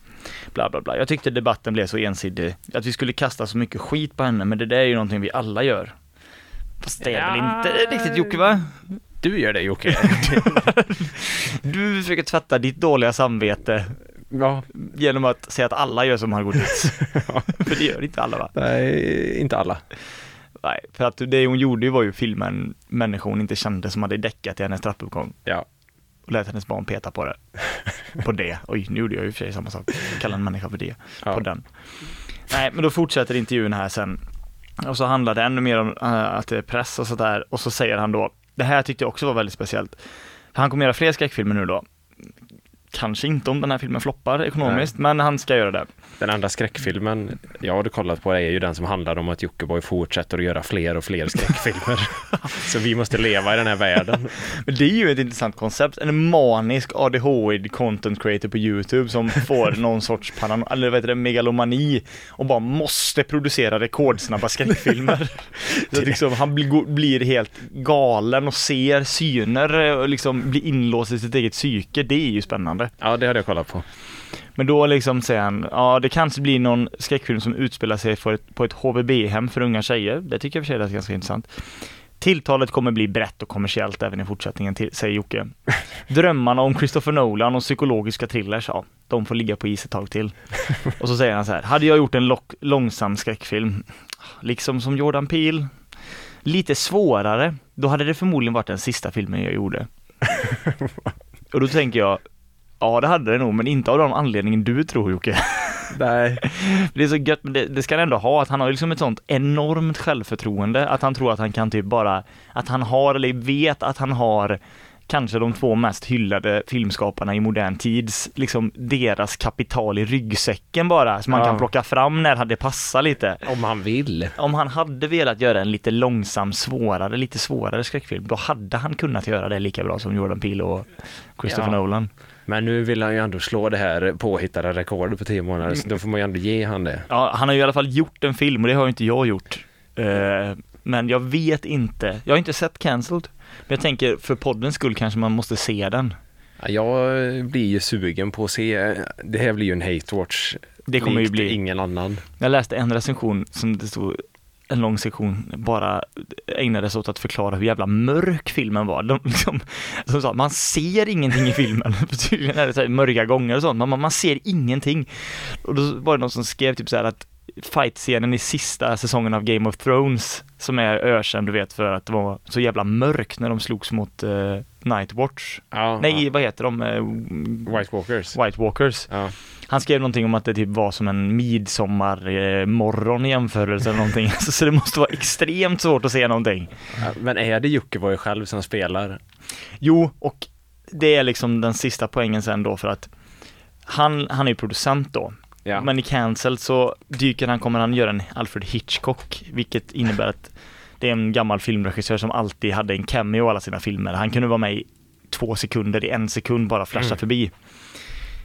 S3: Bla, bla, bla. Jag tyckte debatten blev så ensidig. Att vi skulle kasta så mycket skit på henne, men det där är ju någonting vi alla gör. Fast det är väl inte riktigt Jocke va?
S2: Du gör det Jocke.
S3: Du försöker tvätta ditt dåliga samvete
S2: [LAUGHS] ja.
S3: genom att säga att alla gör som Margot Ditts. För det gör inte alla va?
S2: Nej, inte alla.
S3: Nej, för att det hon gjorde ju var ju filmen människor hon inte kände som hade däckat i hennes trappuppgång.
S2: Ja.
S3: och lät hennes barn peta på det. På det. Oj, nu gjorde jag ju i och för sig samma sak. Kalla en människa för det.
S2: Ja.
S3: På den. Nej, men då fortsätter intervjun här sen. Och så handlar det ännu mer om eh, att det är press och sådär. Och så säger han då, det här tyckte jag också var väldigt speciellt. För han kommer göra fler skräckfilmer nu då. Kanske inte om den här filmen floppar ekonomiskt, men han ska göra det.
S2: Den andra skräckfilmen jag hade kollat på är ju den som handlar om att Jockiboi fortsätter att göra fler och fler
S3: [LAUGHS]
S2: skräckfilmer. så vi måste leva i den här världen.
S3: Men det är ju ett intressant koncept. En manisk ADHD content creator på YouTube som får någon sorts parano- eller vad heter det, megalomani och bara måste producera rekordsnabba skräckfilmer. Så att liksom, han blir, go- blir helt galen och ser syner och liksom blir inlåst i sitt eget psyke. Det är ju spännande.
S2: Ja, det hade jag kollat på.
S3: Men då liksom säger han, ja det kanske blir någon skräckfilm som utspelar sig för ett, på ett HVB-hem för unga tjejer. Det tycker jag i och för sig är ganska intressant. Tilltalet kommer bli brett och kommersiellt även i fortsättningen, till, säger Jocke. Drömmarna om Christopher Nolan och psykologiska thrillers, ja, de får ligga på is ett tag till. Och så säger han så här, hade jag gjort en lock, långsam skräckfilm, liksom som Jordan Peele, lite svårare, då hade det förmodligen varit den sista filmen jag gjorde. Och då tänker jag, ja det hade det nog, men inte av den anledningen du tror Jocke.
S2: [LAUGHS] Nej.
S3: [LAUGHS] Det är så gött, men det, det ska han ändå ha, att han har liksom ett sånt enormt självförtroende, att han tror att han kan typ bara, att han har, eller vet att han har, kanske de två mest hyllade filmskaparna i modern tids, liksom deras kapital i ryggsäcken bara, som man
S2: Ja.
S3: kan plocka fram när det passar lite.
S2: Om han vill.
S3: Om han hade velat göra en lite långsam, svårare, lite svårare skräckfilm, då hade han kunnat göra det lika bra som Jordan Peele och Christopher
S2: Ja.
S3: Nolan.
S2: Men nu vill han ju ändå slå det här påhittade rekordet på 10 månader, så då får man ju ändå ge han det.
S3: Ja, han har ju i alla fall gjort en film och det har ju inte jag gjort. Eh, men jag vet inte. Jag har inte sett Cancelled. Men jag tänker för poddens skull kanske man måste se den.
S2: Ja, Jag blir ju sugen på att se, det här blir ju en hate watch.
S3: Det kommer ju
S2: likt
S3: bli-
S2: ingen annan.
S3: Jag läste en recension som det stod en lång sektion bara ägnades åt att förklara hur jävla mörk filmen var. De liksom, som sa, man ser ingenting i filmen. [LAUGHS] För Tydligen är det så här mörka gånger och sånt, men man, man ser ingenting. Och då var det någon som skrev typ så här att fight-scenen i sista säsongen av Game of Thrones, som är ökänd du vet för att det var så jävla mörkt när de slogs mot eh, Nightwatch.
S2: Ja,
S3: Nej,
S2: ja.
S3: vad heter de? Eh,
S2: White Walkers.
S3: White Walkers.
S2: Ja.
S3: Han skrev någonting om att det typ var som en midsommarmorgon eh, i jämförelse eller någonting. [LAUGHS] Alltså, så det måste vara extremt svårt att se någonting.
S2: Ja, Men är det Jocke själv som spelar?
S3: Jo, och det är liksom den sista poängen sen då för att han, han är ju producent då.
S2: Ja.
S3: Men i Cancel så dyker han, kommer han göra en Alfred Hitchcock, vilket innebär att det är en gammal filmregissör som alltid hade en cameo i alla sina filmer. Han kunde vara med i två sekunder, i en sekund bara flasha förbi.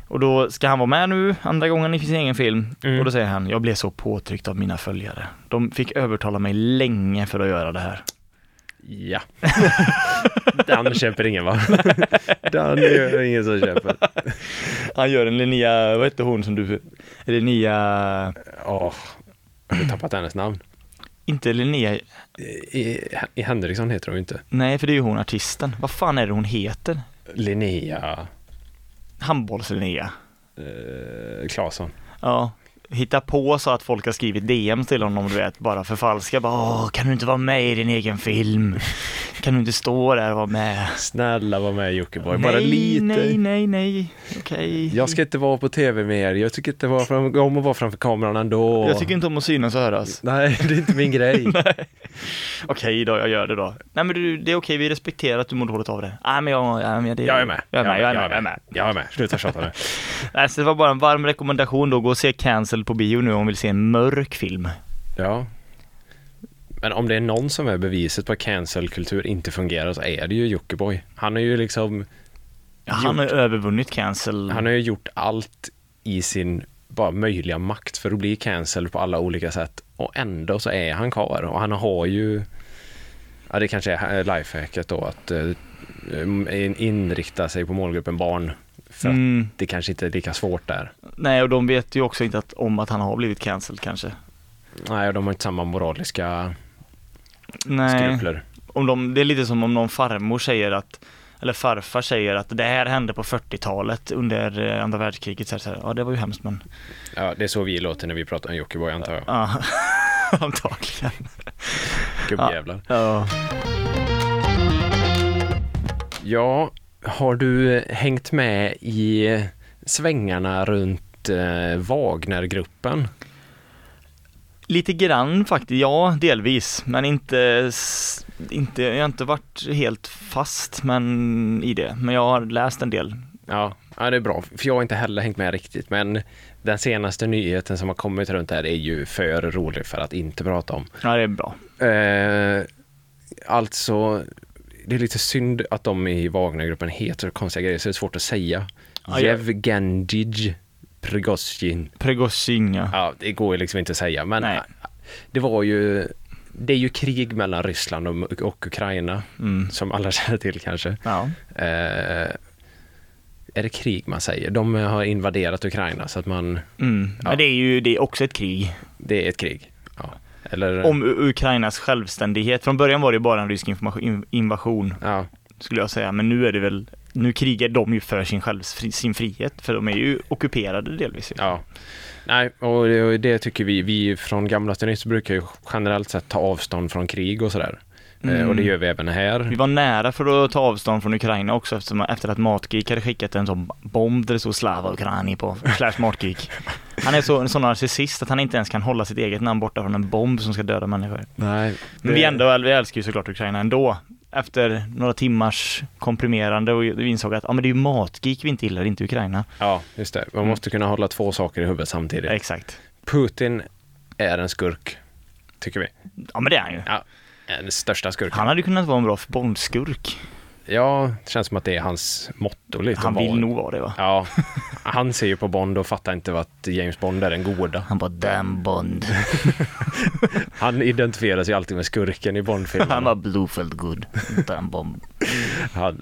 S3: Och då ska han vara med nu, andra gången i sin egen film.
S2: Mm.
S3: Och då säger han, jag blev så påtryckt av mina följare. De fick övertala mig länge för att göra det här.
S2: Ja. [LAUGHS] Den köper ingen [LAUGHS] va? Den gör ingen som köper.
S3: Han gör en Linnea, vad hette hon som du, Linnea,
S2: Åh, har du tappat hennes namn?
S3: inte Linnea,
S2: I, I Henriksson heter hon ju inte.
S3: nej för det är ju hon artisten. Vad fan är det hon heter?
S2: Linnea
S3: Handbolls-Linnea.
S2: eh, Claesson.
S3: Ja. Hitta på så att folk har skrivit DM till honom, du vet, bara förfalska. Bara, Åh, kan du inte vara med i din egen film? Kan du inte stå där och vara med?
S2: Snälla var med Jockiboi, bara
S3: nej,
S2: lite.
S3: nej, nej, nej. Okej.
S2: Jag ska inte vara på tv mer. Jag tycker inte vara fram- om att vara framför kameran ändå.
S3: Jag tycker inte om att synas och höras.
S2: Nej, det är inte min
S3: [LAUGHS]
S2: grej.
S3: Okej då, jag gör det då. Nej men du, det är okej, vi respekterar att du mår dåligt av det. Nej men jag, jag, jag, det,
S2: Jag är med.
S3: Jag är med, jag är med, jag är med.
S2: Jag är med. Sluta tjata nu.
S3: Nej, så det var bara en varm rekommendation då, gå och se Cancel på bio nu om man vill se en mörk film.
S2: Ja. Men om det är någon som är beviset på att cancelkultur inte fungerar så är det ju Jockiboi. Han har ju
S3: Mm.
S2: liksom,
S3: Ja, han har övervunnit Cancel.
S2: han har ju gjort allt i sin bara möjliga makt för att bli cancel på alla olika sätt och ändå så är han kvar och han har ju, ja det kanske är eh, lifehacket då att eh, in- inrikta sig på målgruppen barn för att
S3: Mm.
S2: det kanske inte är lika svårt där.
S3: Nej, och de vet ju också inte att, om att han har blivit cancelled kanske.
S2: Nej, och de har inte samma moraliska
S3: Nej,
S2: skrupler.
S3: om de, det är lite som om någon farmor säger att, eller farfar säger att det här hände på 40-talet under eh, andra världskriget. Så här, så här, ja, det var ju hemskt men,
S2: Ja, det är så vi låter när vi pratar om Jockiboi antar jag.
S3: ja, [LAUGHS] antagligen.
S2: Gubbjävlar.
S3: Ja.
S2: Ja, har du eh, hängt med i eh, svängarna runt eh, Wagnergruppen?
S3: Lite grann faktiskt, ja delvis, men inte, s- inte, jag har inte varit helt fast men, i det. Men jag har läst en del.
S2: Ja, ja, det är bra, för jag har inte heller hängt med riktigt, men den senaste nyheten som har kommit runt det här är ju för rolig för att inte prata om.
S3: Ja, det är bra.
S2: Eh, alltså, det är lite synd att de i Wagnergruppen heter konstiga grejer, så det är svårt att säga.
S3: Ja, jag-
S2: Jevgenij Prigozjin.
S3: Prigozjin ja.
S2: Ja, det går ju liksom inte att säga, men
S3: Nej.
S2: det var ju det är ju krig mellan Ryssland och, och Ukraina,
S3: Mm.
S2: som alla [LAUGHS] känner till kanske.
S3: ja.
S2: Eh, är det krig man säger? De har invaderat Ukraina, så att man,
S3: Mm. Men det är ju det är också ett krig.
S2: det är ett krig. Ja. Eller,
S3: om U- Ukrainas självständighet. Från början var det ju bara en rysk information- in- invasion
S2: ja,
S3: skulle jag säga, men nu är det väl nu krigar de ju för sin, själv, fri- sin frihet, för de är ju ockuperade delvis. ju.
S2: ja. Nej, och det, och det tycker vi, vi från Gamla till Nytt brukar ju generellt sett ta avstånd från krig och sådär. Eh, Och det
S3: Mm.
S2: gör vi även
S3: Vi
S2: här.
S3: var nära för att ta avstånd från Ukraina också eftersom, efter att Matgeek hade skickat en sån bomb där det stod Slava Ukraini på, slash Matgeek. Han är så, en sån narcissist att han inte ens kan hålla sitt eget namn borta från en bomb som ska döda människor.
S2: Nej,
S3: Men vi ändå, vi älskar ju såklart Ukraina ändå. Efter några timmars komprimerande och vi insåg att ja, men det är ju Matgeek vi inte gillar, inte Ukraina.
S2: Ja, just det. Man måste kunna hålla två saker i huvudet samtidigt.
S3: Exakt.
S2: Putin är en skurk, tycker vi.
S3: Ja men det är han ju.
S2: Ja, den största skurken.
S3: Han hade ju kunnat vara en bra bondskurk.
S2: Ja, det känns som att det är hans motto lite.
S3: Han
S2: att vara-
S3: vill nog vara det va?
S2: Ja, han ser ju på Bond och fattar inte att James Bond är den goda.
S3: Han bara damn [LAUGHS] Bond.
S2: Han identifierar sig alltid med skurken i
S3: Han
S2: Bondfilmerna.
S3: var Bluefield good. Damn Bond.
S2: Han,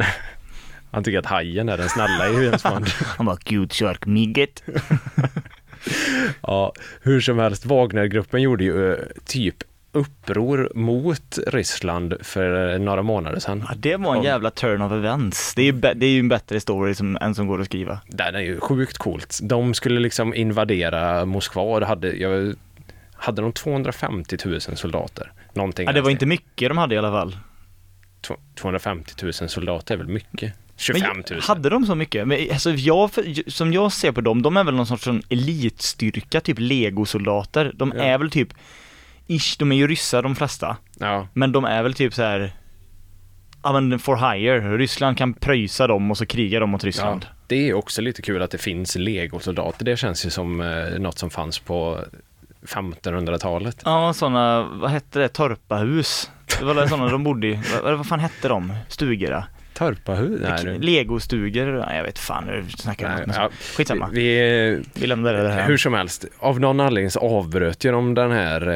S2: han tycker att hajen är den snälla i James
S3: [LAUGHS]
S2: Bond.
S3: Han var cute shark midget.
S2: Ja, hur som helst, Wagnergruppen gjorde ju eh, typ uppror mot Ryssland för eh, några månader sedan.
S3: Ja, det var en jävla turn of events. Det är ju, bä- det är ju en bättre story som, än som går att skriva.
S2: Den är ju sjukt coolt. De skulle liksom invadera Moskva och det hade, jag, hade de 250 000 soldater? Någonting
S3: Ja, det var
S2: där.
S3: inte mycket de hade i alla fall.
S2: Tw- 250 000 soldater är väl mycket?
S3: Men
S2: 25 000?
S3: hade de så mycket? Men, alltså, jag, för- som jag ser på dem, de är väl någon sorts sån elitstyrka, typ legosoldater. De
S2: Ja.
S3: är väl typ, ish, de är ju ryssar de flesta.
S2: Ja,
S3: Men de är väl typ så här. Ja men for hire, Ryssland kan pröjsa dem och så krigar de mot
S2: ja.
S3: Ryssland.
S2: Det är också lite kul att det finns legosoldater. Det känns ju som eh, något som fanns på 1500-talet.
S3: Ja, sådana, vad hette det, torpahus? Det var sådana de
S2: [LAUGHS]
S3: bodde i, vad, vad fan hette de? Stugor? ja.
S2: Törpahus? Nej, nu.
S3: Legostugor? Nej jag vet fan, nu snackar jag
S2: Nej,
S3: om något.
S2: ja.
S3: Skitsamma, vi,
S2: Vi,
S3: lämnar det här.
S2: Hur som helst, av någon anledning så avbröt ju de den här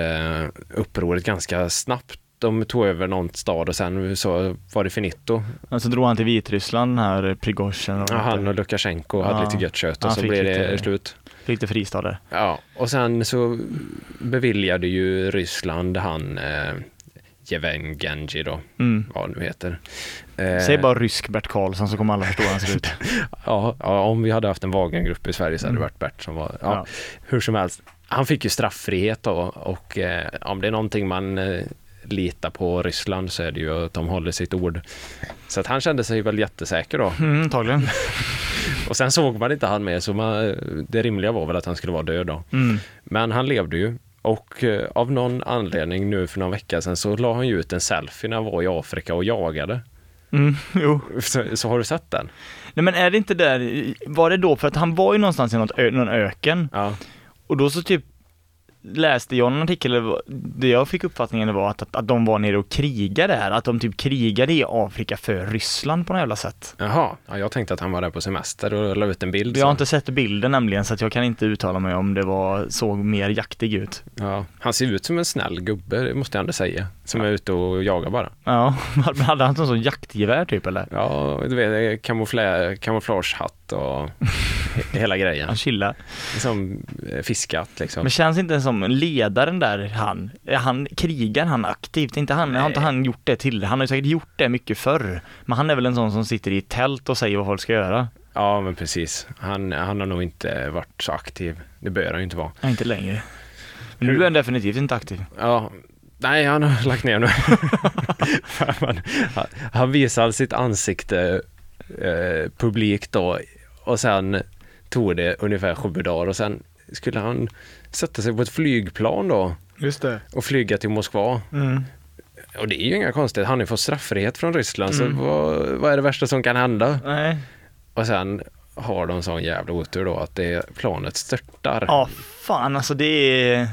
S2: eh, upproret ganska snabbt. De tog över någon stad och sen så var det finito.
S3: Och så drog han till Vitryssland, den här Prigozjin och
S2: Ja, han och Lukasjenko hade
S3: Ja.
S2: lite gött kött och
S3: Han
S2: så
S3: fick
S2: blev det
S3: lite-
S2: slut.
S3: lite fristad där.
S2: Ja, och sen så beviljade ju Ryssland han eh, Jeven Genji då,
S3: Mm.
S2: vad han nu heter. Eh,
S3: Säg bara rysk Bert Karlsson så kommer alla förstå hur han ser ut.
S2: Ja, ja, om vi hade haft en Wagnergrupp i Sverige så hade det varit Bert som var, ja,
S3: Ja.
S2: hur som helst. Han fick ju strafffrihet då och eh, om det är någonting man eh, litar på Ryssland så är det ju att de håller sitt ord. Så att han kände sig väl jättesäker [LAUGHS] då.
S3: Mm, antagligen.
S2: Och sen såg man inte han med så man, det rimliga var väl att han skulle vara död då.
S3: Mm.
S2: Men han levde ju. Och eh, av någon anledning nu för någon vecka sedan så la han ju ut en selfie när han var i Afrika och jagade.
S3: Mm, jo.
S2: Så, så har du sett den?
S3: Nej men är det inte där, var det då, för att han var ju någonstans i något ö, någon öken
S2: Ja.
S3: och då så typ läste jag någon artikel, där det var- det jag fick uppfattningen var att, att, att de var nere och krigade här, att de typ krigade i Afrika för Ryssland på något jävla sätt.
S2: Jaha, ja, jag tänkte att han var där på semester och la ut en bild.
S3: Jag har
S2: så.
S3: inte sett bilden nämligen så att jag kan inte uttala mig om det var, såg mer jaktig ut.
S2: Ja, han ser ut som en snäll gubbe, det måste jag ändå säga. Som är ute och jagar bara.
S3: Ja, [LAUGHS] men hade han någon sån jaktgevär typ eller?
S2: Ja, du vet, kamoufla- kamouflagehatt och
S3: [LAUGHS]
S2: he- hela grejen.
S3: Han chillar.
S2: Som eh, fiskhatt liksom.
S3: Alltså. Men känns inte som ledaren där han, är han krigar han aktivt? Inte han, har inte han gjort det till? Han har ju säkert gjort det mycket förr. Men han är väl en sån som sitter i ett tält och säger vad folk ska göra?
S2: Ja, men precis. Han, han har nog inte varit så aktiv. Det bör han ju inte vara.
S3: Nej, inte längre. Men nu är han definitivt inte aktiv.
S2: Ja, nej, han har lagt [LAUGHS] ner nu. han, han visade sitt ansikte eh, publikt då och sen tog det ungefär sju dagar och sen skulle han sätta sig på ett flygplan då
S3: Just det.
S2: och flyga till Moskva.
S3: Mm.
S2: Och det är ju inga konstigheter, han har ju fått straffrihet från Ryssland, så vad, vad är det värsta som kan hända?
S3: Nej.
S2: Och sen har de sån jävla otur då att det planet störtar.
S3: Ja, fan alltså det är...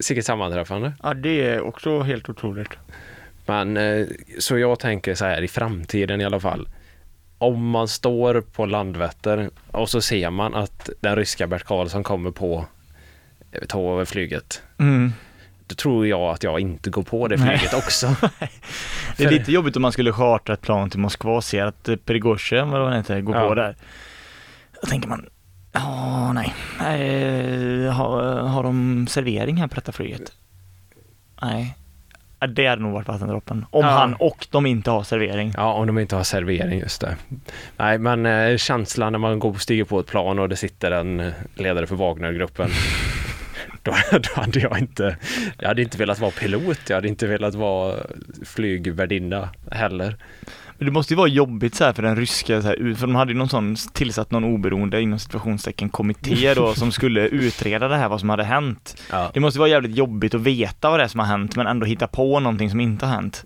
S2: Sicket sammanträffande.
S3: Ja, det är också helt otroligt.
S2: Men eh, så jag tänker så här i framtiden i alla fall. Om man står på Landvetter och så ser man att den ryska Bert Karlsson kommer på eh, ta över flyget.
S3: Mm.
S2: Då tror jag att jag inte går på det flyget också.
S3: Det är lite jobbigt om man skulle chartra ett plan till Moskva och ser att eh, Prigozjin, vad han heter, går
S2: Ja.
S3: på där. Då tänker man, ja nej, nej har, har de servering här på detta flyget? Nej. Ja, Det hade nog varit vattendroppen. Om
S2: Ja.
S3: han och de inte har servering.
S2: Ja, om de inte har servering, just det. Nej, men eh, känslan när man går stiger på ett plan och det sitter en ledare för Wagnergruppen då, då hade jag inte, jag hade inte velat vara pilot, jag hade inte velat vara flygvärdinna heller.
S3: Men det måste ju vara jobbigt så här för den ryska, så här, för de hade ju någon sån tillsatt någon oberoende inom situationstecken kommitté då som skulle utreda det här, vad som hade hänt.
S2: Ja,
S3: Det måste vara jävligt jobbigt att veta vad det är som har hänt men ändå hitta på någonting som inte har hänt.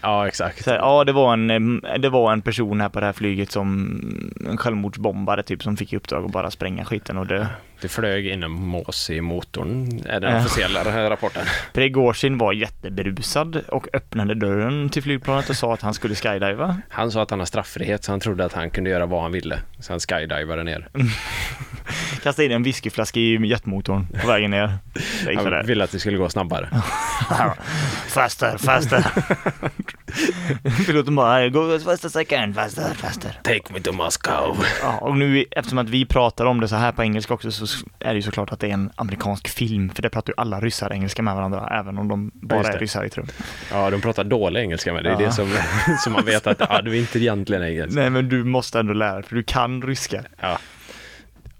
S2: ja exakt.
S3: Så här, ja, det var, en, eh, det var en person här på det här flyget som mm, en självmordsbombare typ som fick i uppdrag att bara spränga skiten och dö.
S2: Det flög inomhus i motorn, är den
S3: Ja.
S2: officiella här rapporten.
S3: Prigozjin var jätteberusad och öppnade dörren till flygplanet och sa att han skulle skydiva.
S2: Han sa att han har strafffrihet så han trodde att han kunde göra vad han ville. Så han skydivade ner.
S3: Kastade in en whiskyflaska i jetmotorn på vägen ner. Det gick
S2: Han
S3: sådär.
S2: ville att det skulle gå snabbare.
S3: Faster, faster. [LAUGHS] Piloten bara, go as fast as I can, faster, faster.
S2: Take me to Moscow.
S3: Ja, och nu eftersom att vi pratar om det så här på engelska också så är det ju såklart att det är en amerikansk film, för det pratar ju alla ryssar engelska med varandra, även om de bara
S2: just det.
S3: är ryssar i trum.
S2: Ja, de pratar dålig engelska med det. är
S3: Ja.
S2: det som, [LAUGHS] som man vet att ja, du är inte egentligen engelsk.
S3: Nej men du måste ändå lära dig, för du kan ryska.
S2: Ja.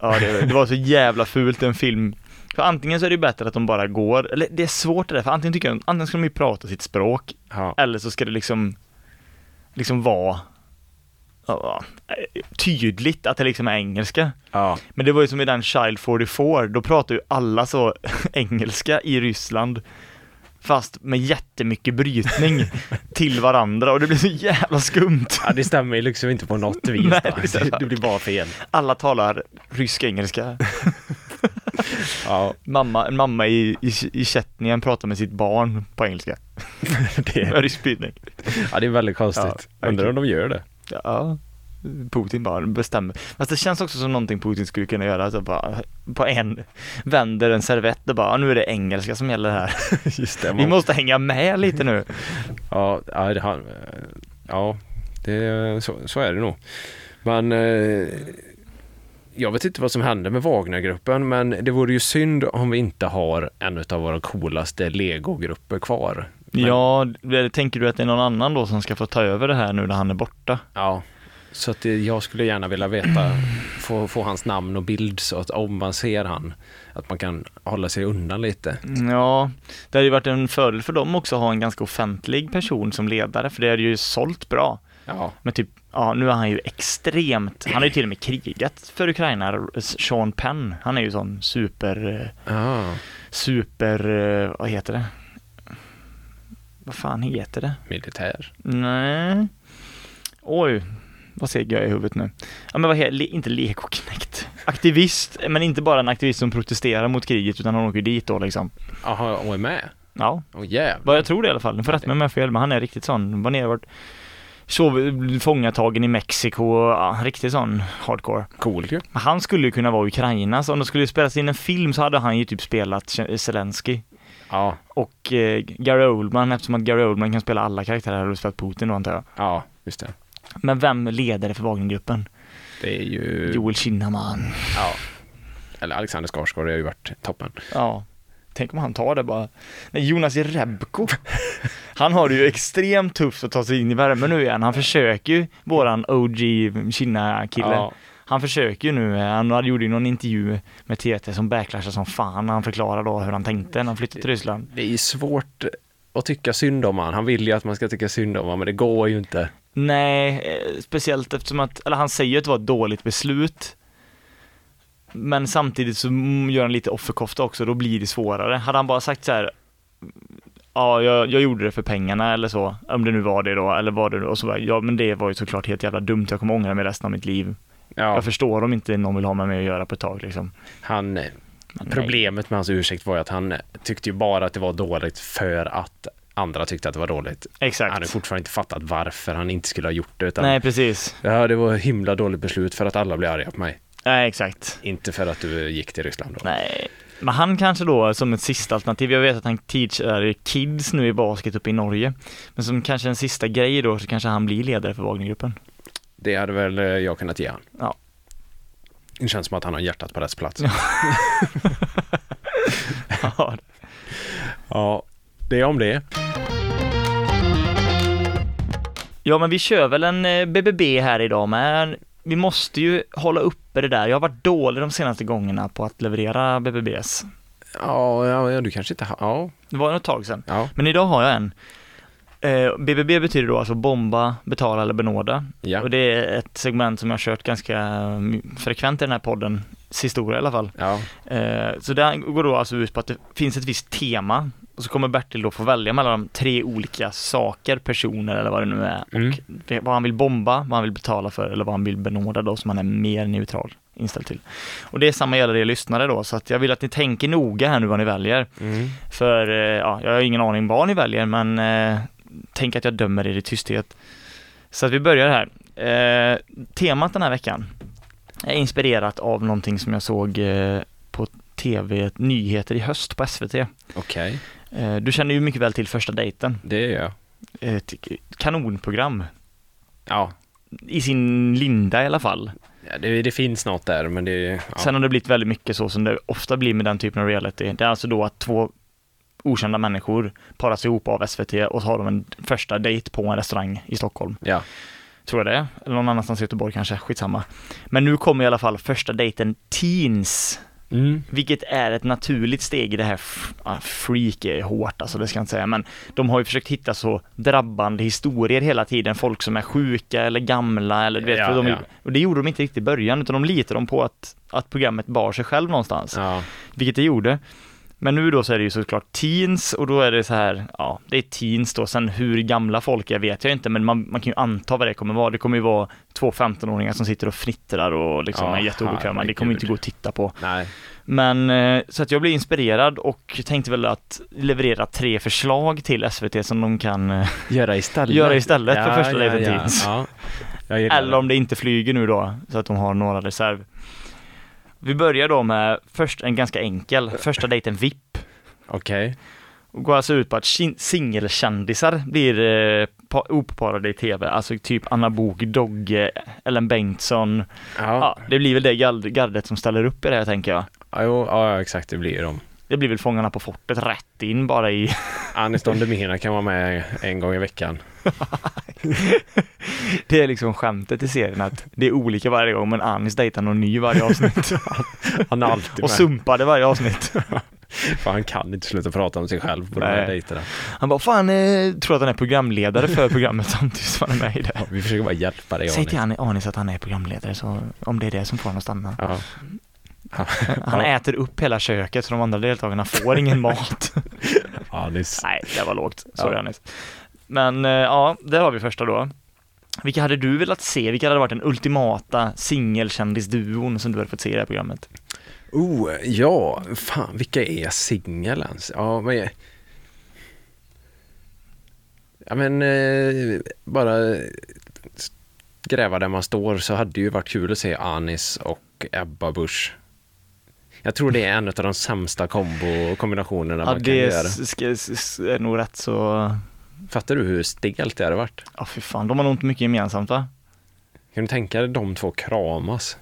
S3: Ja, det, det var så jävla fult en film. För antingen så är det ju bättre att de bara går, eller det är svårt det där, för antingen tycker jag, antingen ska de ju prata sitt språk,
S2: Ja.
S3: eller så ska det liksom, liksom vara ja, eh, tydligt att det liksom är engelska.
S2: Ja.
S3: Men det var ju som i den Child 44, då pratar ju alla så [LAUGHS] engelska i Ryssland fast med
S2: [LAUGHS]
S3: jättemycket brytning till varandra och det blir så jävla skumt.
S2: ja, det stämmer ju liksom inte på något vis.
S3: Nej,
S2: då.
S3: det
S2: [LAUGHS]
S3: stämmer.
S2: det, det blir bara fel.
S3: Alla talar rysk-engelska.
S2: Ja,
S3: Mamma, en mamma i, i, i Tjetjenien pratar med sitt barn på engelska.
S2: [LAUGHS] det,
S3: Med rysk brytning.
S2: ja, det är väldigt konstigt.
S3: Ja,
S2: Undrar om de gör det.
S3: Ja, Putin bara bestämmer. Fast det känns också som någonting Putin skulle kunna göra, så bara på en, vänder en servett och bara, nu är det engelska som gäller här.
S2: [LAUGHS] Just det.
S3: Vi
S2: Man,
S3: måste hänga med lite nu.
S2: ja, ja, det, har- ja det, så, så är det nog. Men eh, jag vet inte vad som händer med Wagnergruppen, men det vore ju synd om vi inte har en av våra coolaste Lego-grupper kvar. Men-
S3: Ja, det- tänker du att det är någon annan då som ska få ta över det här nu när han är borta?
S2: Ja, så att det, jag skulle gärna vilja veta, få, få hans namn och bild så att om man ser han, att man kan hålla sig undan lite.
S3: Ja, det hade ju varit en fördel för dem också att ha en ganska offentlig person som ledare, för det hade ju sålt bra.
S2: Ja,
S3: Men typ, ja nu är han ju extremt, han har ju till och med krigat för Ukraina, Sean Penn, han är ju sån super, eh,
S2: ah,
S3: super, eh, vad heter det? Vad fan heter det?
S2: militär.
S3: Nej. Oj, vad seg jag är i huvudet nu. Ja men vad heter, le, inte lekoknäckt. Aktivist, men inte bara en aktivist som protesterar mot kriget utan han åker dit då liksom.
S2: Jaha, och är med?
S3: Ja,
S2: Åh jävlar.
S3: vad jag tror det i alla fall. Nu får rätta mig om jag har fel, men han är riktigt sån. Var nere och varit, sov, fångatagen i Mexiko, ja, riktigt sån hardcore.
S2: Cool ju.
S3: Men han skulle ju kunna vara Ukraina, så om det skulle spelas in en film så hade han ju typ spelat Ze- Zelensky
S2: Ja,
S3: och eh, Gary Oldman, eftersom att Gary Oldman kan spela alla karaktärer hade du spelat Putin då antar jag.
S2: ja, just det.
S3: Men vem leder för Wagnergruppen?
S2: Det är ju...
S3: Joel Kinnaman.
S2: Ja. Eller Alexander Skarsgård har ju varit toppen.
S3: Ja. Tänk om han tar det bara. Nej, Jonas Jerebko. Han har det ju extremt tufft att ta sig in i värmen nu igen. Han försöker ju, våran OG Kina-kille.
S2: Ja.
S3: Han försöker ju nu, eh, han hade- gjorde ju någon intervju med TT som backlashade som fan när han förklarar då hur han tänkte när han flyttade till Ryssland.
S2: Det är ju svårt att tycka synd om han. Han vill ju att man ska tycka synd om honom, men det går ju inte.
S3: Nej, eh, speciellt eftersom att, eller han säger ju att det var ett dåligt beslut. Men samtidigt så mm, gör han lite offerkofta också, då blir det svårare. Hade han bara sagt så här, "Mm, ja jag, jag gjorde det för pengarna eller så, om det nu var det då, eller var det då, och så bara, ja men det var ju såklart helt jävla dumt, jag kommer ångra mig resten av mitt liv.
S2: Ja,
S3: Jag förstår om inte någon vill ha med mig att göra på ett tag liksom.
S2: han... eh,
S3: Men nej.
S2: Problemet med hans ursäkt var ju att han eh, tyckte ju bara att det var dåligt för att andra tyckte att det var dåligt. Han hade
S3: Exakt.
S2: fortfarande inte fattat varför han inte skulle ha gjort det. Utan
S3: Nej precis,
S2: Ja, det var ett himla dåligt beslut för att alla blev arga på mig.
S3: nej exakt.
S2: Inte för att du gick till Ryssland då.
S3: Nej. Men han kanske då som ett sista alternativ, jag vet att han teachar kids nu i basket uppe i Norge. Men som kanske en sista grej då så kanske han blir ledare för Wagnergruppen.
S2: Det hade väl eh, jag kunnat ge han.
S3: Ja.
S2: Det känns som att han har hjärtat på rätt plats.
S3: Ja,
S2: Ja, det är om det.
S3: [LAUGHS] ja men vi kör väl en eh, BBB här idag men vi måste ju hålla uppe det där. Jag har varit dålig de senaste gångerna på att leverera BBBs.
S2: Ja, ja, ja, du kanske inte har... Ja,
S3: Det var ett tag sedan.
S2: ja,
S3: Men idag har jag en. Eh, BBB betyder då alltså bomba, betala eller benåda.
S2: ja.
S3: Och det är ett segment som jag har kört ganska mm, frekvent i den här podden, historia i alla fall.
S2: ja.
S3: Eh, så det här går då alltså ut på att det finns ett visst tema och så kommer Bertil då få välja mellan de tre olika saker, personer eller vad det nu är.
S2: Mm.
S3: Det- Vad han vill bomba, vad han vill betala för eller vad han vill benåda då som han är mer neutral inställd till. Och det är samma gäller er lyssnare då, så att jag vill att ni tänker noga här nu vad ni väljer.
S2: Mm.
S3: För eh, ja, jag har ingen aning vad ni väljer, men eh, tänk att jag dömer er i tysthet. Så att vi börjar här. Eh, temat den här veckan är inspirerat av någonting som jag såg eh, på TV, nyheter i höst på SVT.
S2: Okej,
S3: Eh, du känner ju mycket väl till Första dejten. Eh,
S2: det gör jag.
S3: Ett kanonprogram.
S2: Ja,
S3: I sin linda i alla fall.
S2: Ja, det, det finns något där, men det... Ja.
S3: Sen har det blivit väldigt mycket så som det ofta blir med den typen av reality. Det är alltså då att två okända människor paras ihop av SVT och så har de en första dejt på en restaurang i Stockholm.
S2: ja.
S3: Tror jag det är. Eller någon annanstans i Göteborg kanske, skitsamma. Men nu kommer i alla fall första dejten Teens.
S2: Mm.
S3: Vilket är ett naturligt steg i det här, f- ja, freak är hårt alltså, det ska jag inte säga, men de har ju försökt hitta så drabbande historier hela tiden, folk som är sjuka eller gamla eller du vet,
S2: Ja,
S3: för de,
S2: ja.
S3: och det gjorde de inte riktigt i början, utan de litade de på att, att programmet bar sig själv någonstans,
S2: Ja.
S3: vilket det gjorde. Men nu då så är det ju såklart teens och då är det så här, ja, det är teens då, sen hur gamla folk är vet jag inte, men man, man kan ju anta vad det kommer vara. Det kommer ju vara två 15-åringar som sitter och fnittrar och liksom
S2: Ja,
S3: är jätteobekväma, det kommer ju inte
S2: herregud.
S3: gå att titta på.
S2: Nej.
S3: Men eh, så att jag blev inspirerad och tänkte väl att leverera tre förslag till SVT som de kan, eh,
S2: Göra istället.
S3: Göra istället för första David
S2: ja,
S3: Deans.
S2: ja. Jag gillar
S3: eller om det inte flyger nu då, så att de har några reserv. Vi börjar då med först en ganska enkel, första dejten VIP.
S2: Okej.
S3: Och går alltså ut på att kin- singelkändisar blir eh, pa- oparade i TV, alltså typ Anna Bok, Dogge, Ellen Bengtsson.
S2: Ja.
S3: Ja, det blir väl det gard- gardet som ställer upp i det här tänker jag.
S2: Ja. jo, ja, ja, exakt. Det blir ju de.
S3: Det blir väl Fångarna på fortet rätt in bara i
S2: Anis Don Demina kan vara med en gång i veckan.
S3: Det är liksom skämtet i serien att det är olika varje gång men Anis dejtar någon ny varje [LAUGHS] avsnitt
S2: [LAUGHS] Han är alltid
S3: och
S2: med.
S3: sumpade varje avsnitt.
S2: För han kan inte sluta prata om sig själv på de här
S3: Nej.
S2: dejterna.
S3: Han bara, fan, eh, tror att han är programledare för programmet samtidigt som han är med i det.
S2: Ja, vi försöker bara hjälpa dig
S3: Säg till
S2: Anis.
S3: Ani- Anis att han är programledare så om det är det som får honom att stanna.
S2: Ja.
S3: Han äter upp hela köket så de andra deltagarna får [LAUGHS] ingen mat.
S2: Anis.
S3: Nej, det var lågt. Sorry Anis. Men eh, ja, där har vi första då. Vilka hade du velat se? Vilka hade varit den ultimata singelkändisduon som du hade fått se i det här programmet?
S2: Oh, ja. Fan, vilka är singel ens? Ja, men... jag- Ja, men eh, bara gräva där man står så hade det ju varit kul att se Anis och Ebba Busch. Jag tror det är en av de sämsta kombo kombinationerna
S3: Ja,
S2: man kan
S3: det
S2: göra.
S3: s- ska- s- s- är nog rätt så
S2: Fattar du hur stelt det hade varit?
S3: Ja, fy fan, de har nog inte mycket gemensamt va?
S2: Kan du tänka dig de två [LAUGHS] kramas?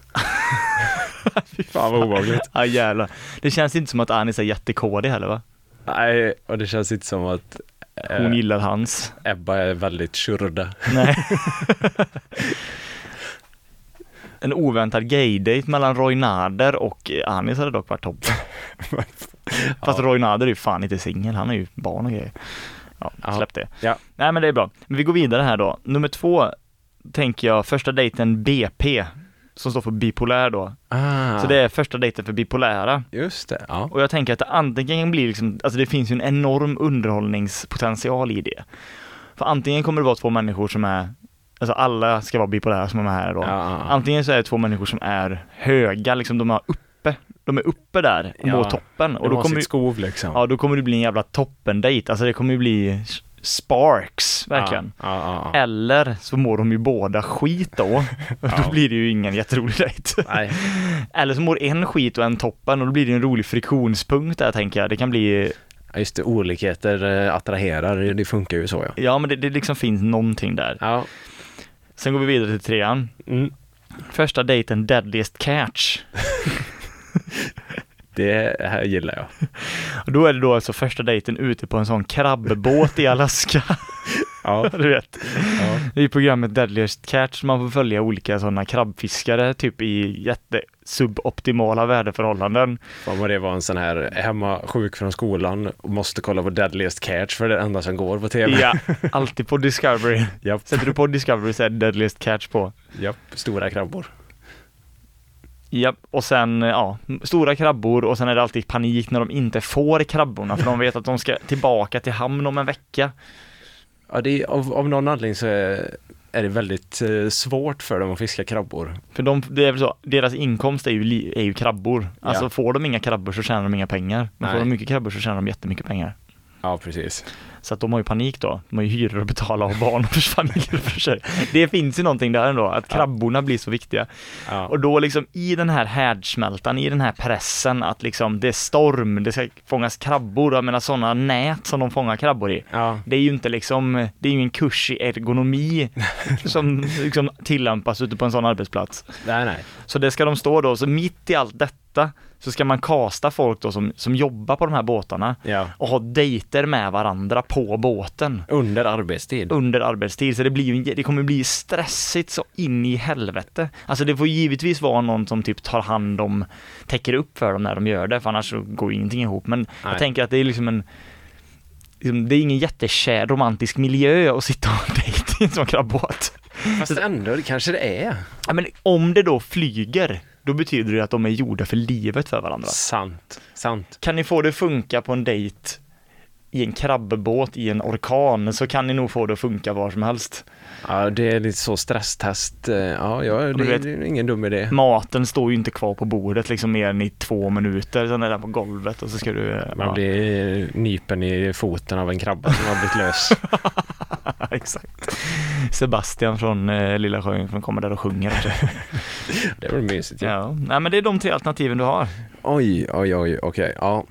S2: Fan vad obehagligt.
S3: Ja, jävlar. Det känns inte som att Anis är jättekådig heller va?
S2: Nej, och det känns inte som att
S3: Hon
S2: eh,
S3: gillar hans.
S2: Ebba är väldigt tjurda.
S3: Nej. en oväntad gaydate mellan Roy Nader och Anis hade dock
S2: [LAUGHS]
S3: varit toppen. Fast Roy Nader är ju fan inte singel, han är ju barn och grejer. Ja,
S2: Ja.
S3: släpp det.
S2: Ja.
S3: Nej men det är bra. Men vi går vidare här då. Nummer två tänker jag, första dejten BP, som står för bipolär då.
S2: Ah,
S3: Så det är första dejten för bipolära.
S2: just det. Ja.
S3: Och jag tänker att det antingen blir liksom, alltså det finns ju en enorm underhållningspotential i det. För antingen kommer det vara två människor som är, alltså alla ska vara bipolära som är med här då.
S2: Ja, ja, ja.
S3: Antingen så är det två människor som är höga, liksom de är uppe, de är uppe där och
S2: Ja.
S3: når toppen. Och
S2: De
S3: då
S2: har
S3: kommer,
S2: sitt skov liksom.
S3: ja, då kommer det bli en jävla toppendejt, alltså det kommer ju bli sparks, verkligen.
S2: Ja, ja, ja.
S3: Eller så mår de ju båda skit
S2: [LAUGHS]
S3: då, och då
S2: Ja.
S3: blir det ju ingen jätterolig dejt.
S2: Nej,
S3: Eller så mår en skit och en toppen och då blir det en rolig friktionspunkt där tänker jag. Det kan bli,
S2: Ja, just det. Olikheter eh, attraherar, det funkar ju så ja.
S3: ja men det, det liksom finns någonting där.
S2: Ja,
S3: Sen går vi vidare till trean.
S2: mm.
S3: Första dejten Deadliest Catch.
S2: det här gillar jag.
S3: Och då är det då alltså första dejten ute på en sån krabbåt i Alaska. [LAUGHS]
S2: Ja.
S3: Du vet.
S2: Ja.
S3: I programmet Deadliest Catch man får följa olika sådana krabbfiskare typ i jättesuboptimala väderförhållanden.
S2: [LAUGHS] Fan vad det var en sån här hemma sjuk från skolan och måste kolla på Deadliest Catch för det är det enda som går på tv.
S3: Ja, alltid på Discovery.
S2: [LAUGHS] Japp,
S3: Sätter du på Discovery så är det Deadliest Catch på.
S2: japp, stora krabbor.
S3: Ja, och sen ja, stora krabbor och sen är det alltid panik när de inte får krabborna för de vet att de ska tillbaka till hamn om en vecka.
S2: Ja, det är, av, av någon anledning så är, är det väldigt eh, svårt för dem att fiska krabbor.
S3: För de, det är väl så, deras inkomst är ju, li- är ju krabbor. Alltså
S2: Ja.
S3: får de inga krabbor så tjänar de inga pengar. Men får
S2: Nej.
S3: de mycket krabbor så tjänar de jättemycket pengar.
S2: Ja, precis.
S3: Så att de har ju panik då. De har ju hyror att betala och barn och familjer för sig. Det finns ju någonting där ändå, att krabborna blir så viktiga.
S2: Ja.
S3: Och då liksom i den här härdsmältan, i den här pressen att liksom det är storm, det ska fångas krabbor, jag menar sådana nät som de fångar krabbor i.
S2: Ja.
S3: Det är ju inte liksom, det är ju en kurs i
S2: [LAUGHS]
S3: ergonomi som liksom tillämpas ute på en sån arbetsplats.
S2: Nej, nej.
S3: Så det ska de stå då, så mitt i allt detta så ska man kasta folk då som, som jobbar på de här båtarna
S2: Ja.
S3: och ha dejter med varandra på båten
S2: Under arbetstid.
S3: under arbetstid. Så det, blir ju, en jä- det kommer bli stressigt så in i helvete. Alltså det får givetvis vara någon som typ tar hand om, täcker upp för dem när de gör det, för annars så går ju ingenting ihop. Men jag
S2: Nej.
S3: tänker att det är liksom en liksom, det är ingen jättekär romantisk miljö att sitta och [LAUGHS] ha en dejt i en sån krabbåt.
S2: Fast ändå, det kanske det är.
S3: Ja, men om det då flyger, då betyder det att de är gjorda för livet för varandra.
S2: Sant. Sant.
S3: Kan ni få det att funka på en dejt i en krabbebåt i en orkan så kan ni nog få det att funka var som helst.
S2: Ja, det är lite så stresstest. eh, Ja, ja det,
S3: du vet-
S2: det är ingen dum idé.
S3: Maten står ju inte kvar på bordet liksom mer än i två minuter, sen är den på golvet och så ska du...
S2: Man blir nypen i foten av en krabba som har blivit
S3: [LAUGHS]
S2: lös.
S3: Ja, [LAUGHS] exakt. Sebastian från eh, Lilla Sjöjungfrun som kommer där och sjunger. också. [LAUGHS]
S2: Det var mysigt ju.
S3: ja. Nej men det är de tre alternativen du har.
S2: Oj, oj, oj, okej, ja.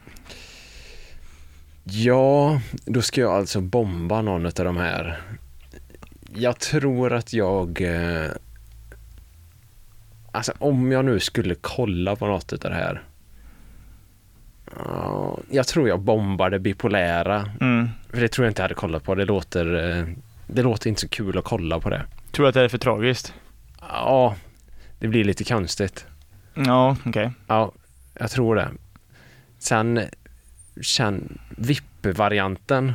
S2: Ja, då ska jag alltså bomba någon av de här. Jag tror att jag... eh, Alltså om jag nu skulle kolla på något av det här. Ja, Jag tror jag bombar det bipolära.
S3: Mm.
S2: För det tror jag inte jag hade kollat på. Det låter, eh, det låter inte så kul att kolla på det.
S3: Tror du att det är för tragiskt?
S2: Ja, det blir lite konstigt.
S3: Ja, okej.
S2: Ja, jag tror det. Sen, sen VIP-varianten.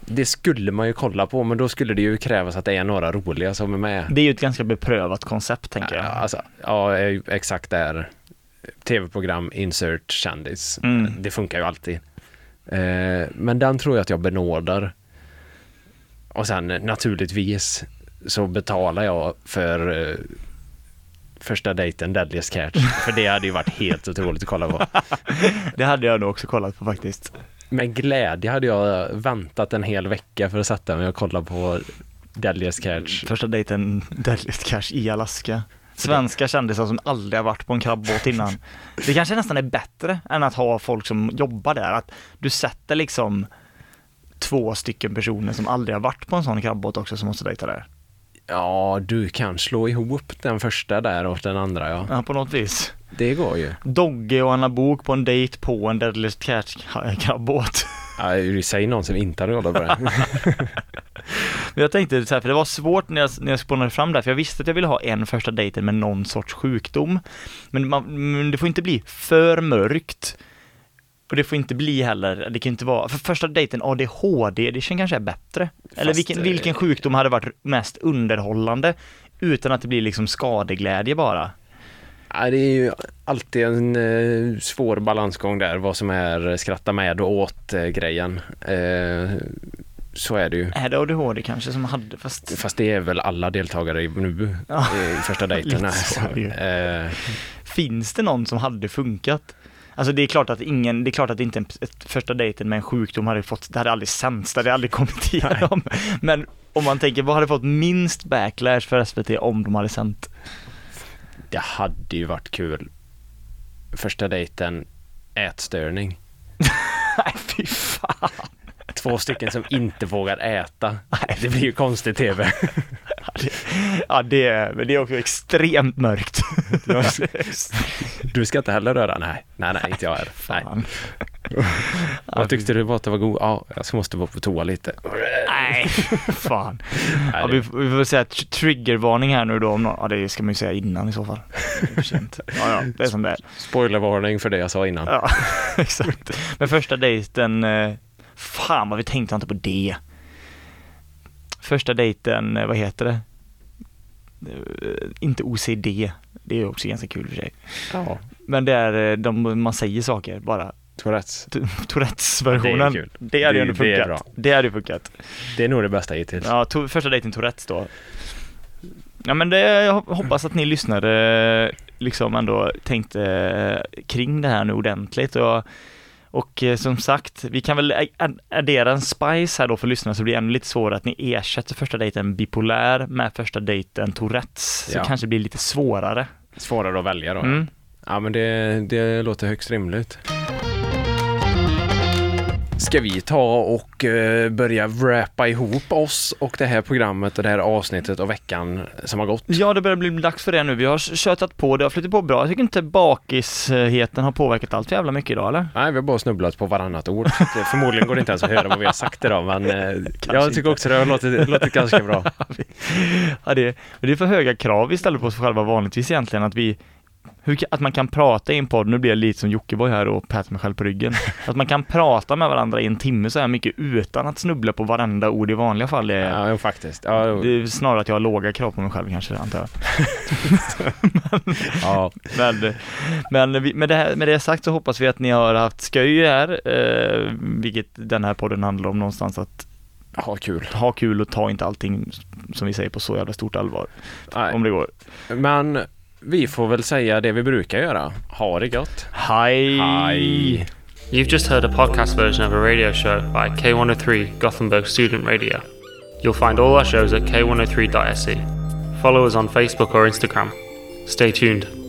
S2: Det skulle man ju kolla på, men då skulle det ju krävas att det är några roliga som är med.
S3: Det är ju ett ganska beprövat koncept tänker
S2: Ja,
S3: jag.
S2: Alltså, ja, är ju exakt där. Tv-program, insert, kändis.
S3: Mm.
S2: Det funkar ju alltid. Eh, men den tror jag att jag benådar. Och sen eh, naturligtvis så betalar jag för eh, första dejten, Deadliest [LAUGHS] Catch. För det hade ju varit helt otroligt att kolla på.
S3: Det hade jag nog också kollat på faktiskt.
S2: Med glädje hade jag väntat en hel vecka för att sätta mig och kolla på Deadliest Catch.
S3: Första dejten, Deadliest Cash i Alaska. Svenska kändisar som aldrig har varit på en krabbåt innan. Det kanske nästan är bättre än att ha folk som jobbar där. Att du sätter liksom två stycken personer som aldrig har varit på en sån krabbåt också som måste dejta där.
S2: Ja, du kan slå ihop den första där och den andra, ja.
S3: Ja, på något vis.
S2: Det går ju.
S3: Dogge och Anna Bok på en dejt på en Deadliest Catch krabbåt.
S2: Ja, du säger någon som inte hade kollat på
S3: [LAUGHS]
S2: det.
S3: Men jag tänkte så här, för det var svårt när jag, när jag spånade fram det här, för jag visste att jag ville ha en första dejten med någon sorts sjukdom. Men, man, men det får inte bli för mörkt. Och det får inte bli heller, det kan inte vara, för första dejten ADHD, det känns kanske är bättre. Eller
S2: Fast,
S3: vilken,
S2: eh,
S3: vilken sjukdom hade varit mest underhållande utan att det blir liksom skadeglädje bara?
S2: Ja, det är ju alltid en eh, svår balansgång där, vad som är skratta med och åt-grejen. Eh, så är det ju.
S3: Är det ADHD kanske som hade, fast
S2: Fast det är väl alla deltagare i- nu
S3: [LAUGHS] Ja,
S2: i första dejterna.
S3: lite så är det ju.
S2: Eh,
S3: finns det någon som hade funkat? Alltså det är klart att ingen, det är klart att inte en, ett första dejten med en sjukdom hade fått, det hade aldrig sänts, det hade aldrig kommit igenom. Men om man tänker, vad hade fått minst backlash för SVT om de hade sänt?
S2: det hade ju varit kul. Första dejten, ätstörning.
S3: Nej fy fan,
S2: Två stycken som inte vågar äta. Det blir ju konstigt
S3: [LAUGHS]
S2: tv.
S3: ja det är, men det är också extremt mörkt.
S2: Du ska inte heller röra? Nej, nej, nej, inte jag heller. Nej.
S3: [LAUGHS] Fan.
S2: Vad tyckte du bara att det var god? Ja, jag måste vara på toa lite.
S3: Nej, [LAUGHS] fan. Ja,
S2: Nej,
S3: vi,
S2: det-
S3: får- vi får säga tr- triggervarning här nu då om någon, ja det ska man ju säga innan i så fall. Det är för sent. Ja, ja, det är som det är.
S2: Spoilervarning för det jag sa innan.
S3: [LAUGHS] Ja, exakt. Men första dejten, eh, fan vad vi tänkte inte på det. Första dejten, eh, vad heter det? Eh, Inte OCD, det är ju också ganska kul i och för sig.
S2: Ja,
S3: Men det är eh, de, man säger saker bara.
S2: Tourettes.
S3: T- [LAUGHS]
S2: Det är
S3: Tourettes-versionen.
S2: kul.
S3: Det hade ju
S2: Det-
S3: ändå
S2: det är
S3: funkat. Det hade ju funkat.
S2: Det är nog det bästa hittills.
S3: Ja, to- första dejten Tourettes då. Ja men det, jag hop- hoppas att ni lyssnade liksom ändå tänkte eh, kring det här nu ordentligt och, och eh, som sagt, vi kan väl ä- ä- addera en spice här då för lyssnarna så det blir ännu lite svårare att ni ersätter första dejten bipolär med första dejten Tourettes. Så
S2: Ja.
S3: kanske det blir lite svårare.
S2: Svårare att välja då.
S3: Mm.
S2: Ja, men det, det låter högst rimligt. Ska vi ta och eh, börja wrappa ihop oss och det här programmet och det här avsnittet och veckan som har gått?
S3: Ja, det börjar bli dags för det nu. Vi har tjötat på, det har flutit på bra. Jag tycker inte bakisheten har påverkat allt för jävla mycket idag eller?
S2: Nej, vi har bara snubblat på varannat
S3: [LAUGHS]
S2: ord. Det, förmodligen går det inte ens att höra vad vi har sagt idag, men eh, jag tycker också det har låtit, låtit ganska
S3: [LAUGHS]
S2: bra.
S3: Ja, det, det är för höga krav vi ställer på oss själva vanligtvis egentligen, att vi hur, ka- att man kan prata i en podd, nu blir jag lite som Jockiboi här och päter mig själv
S2: [LAUGHS]
S3: på ryggen. Att man kan prata med varandra i en timme så här mycket utan att snubbla på varenda ord i vanliga fall. Det är,
S2: Ja, jo, faktiskt. Ja,
S3: det är snarare att jag har låga krav på mig själv kanske, antar jag.
S2: ja.
S3: Men, men vi, med, det här, med det sagt så hoppas vi att ni har haft skoj här, eh, vilket den här podden handlar om någonstans, att
S2: ja kul.
S3: ha kul och ta inte allting som vi säger på så jävla stort allvar.
S2: Nej.
S3: Om det går.
S2: Men vi får väl säga det vi brukar göra. Ha det gott.
S3: Hej!
S2: Hej.
S1: You've just heard a podcast version of a radio show by K103 Gothenburg Student Radio. You'll find oh E. all our shows at k103.se. Follow us on Facebook or Instagram. Stay tuned.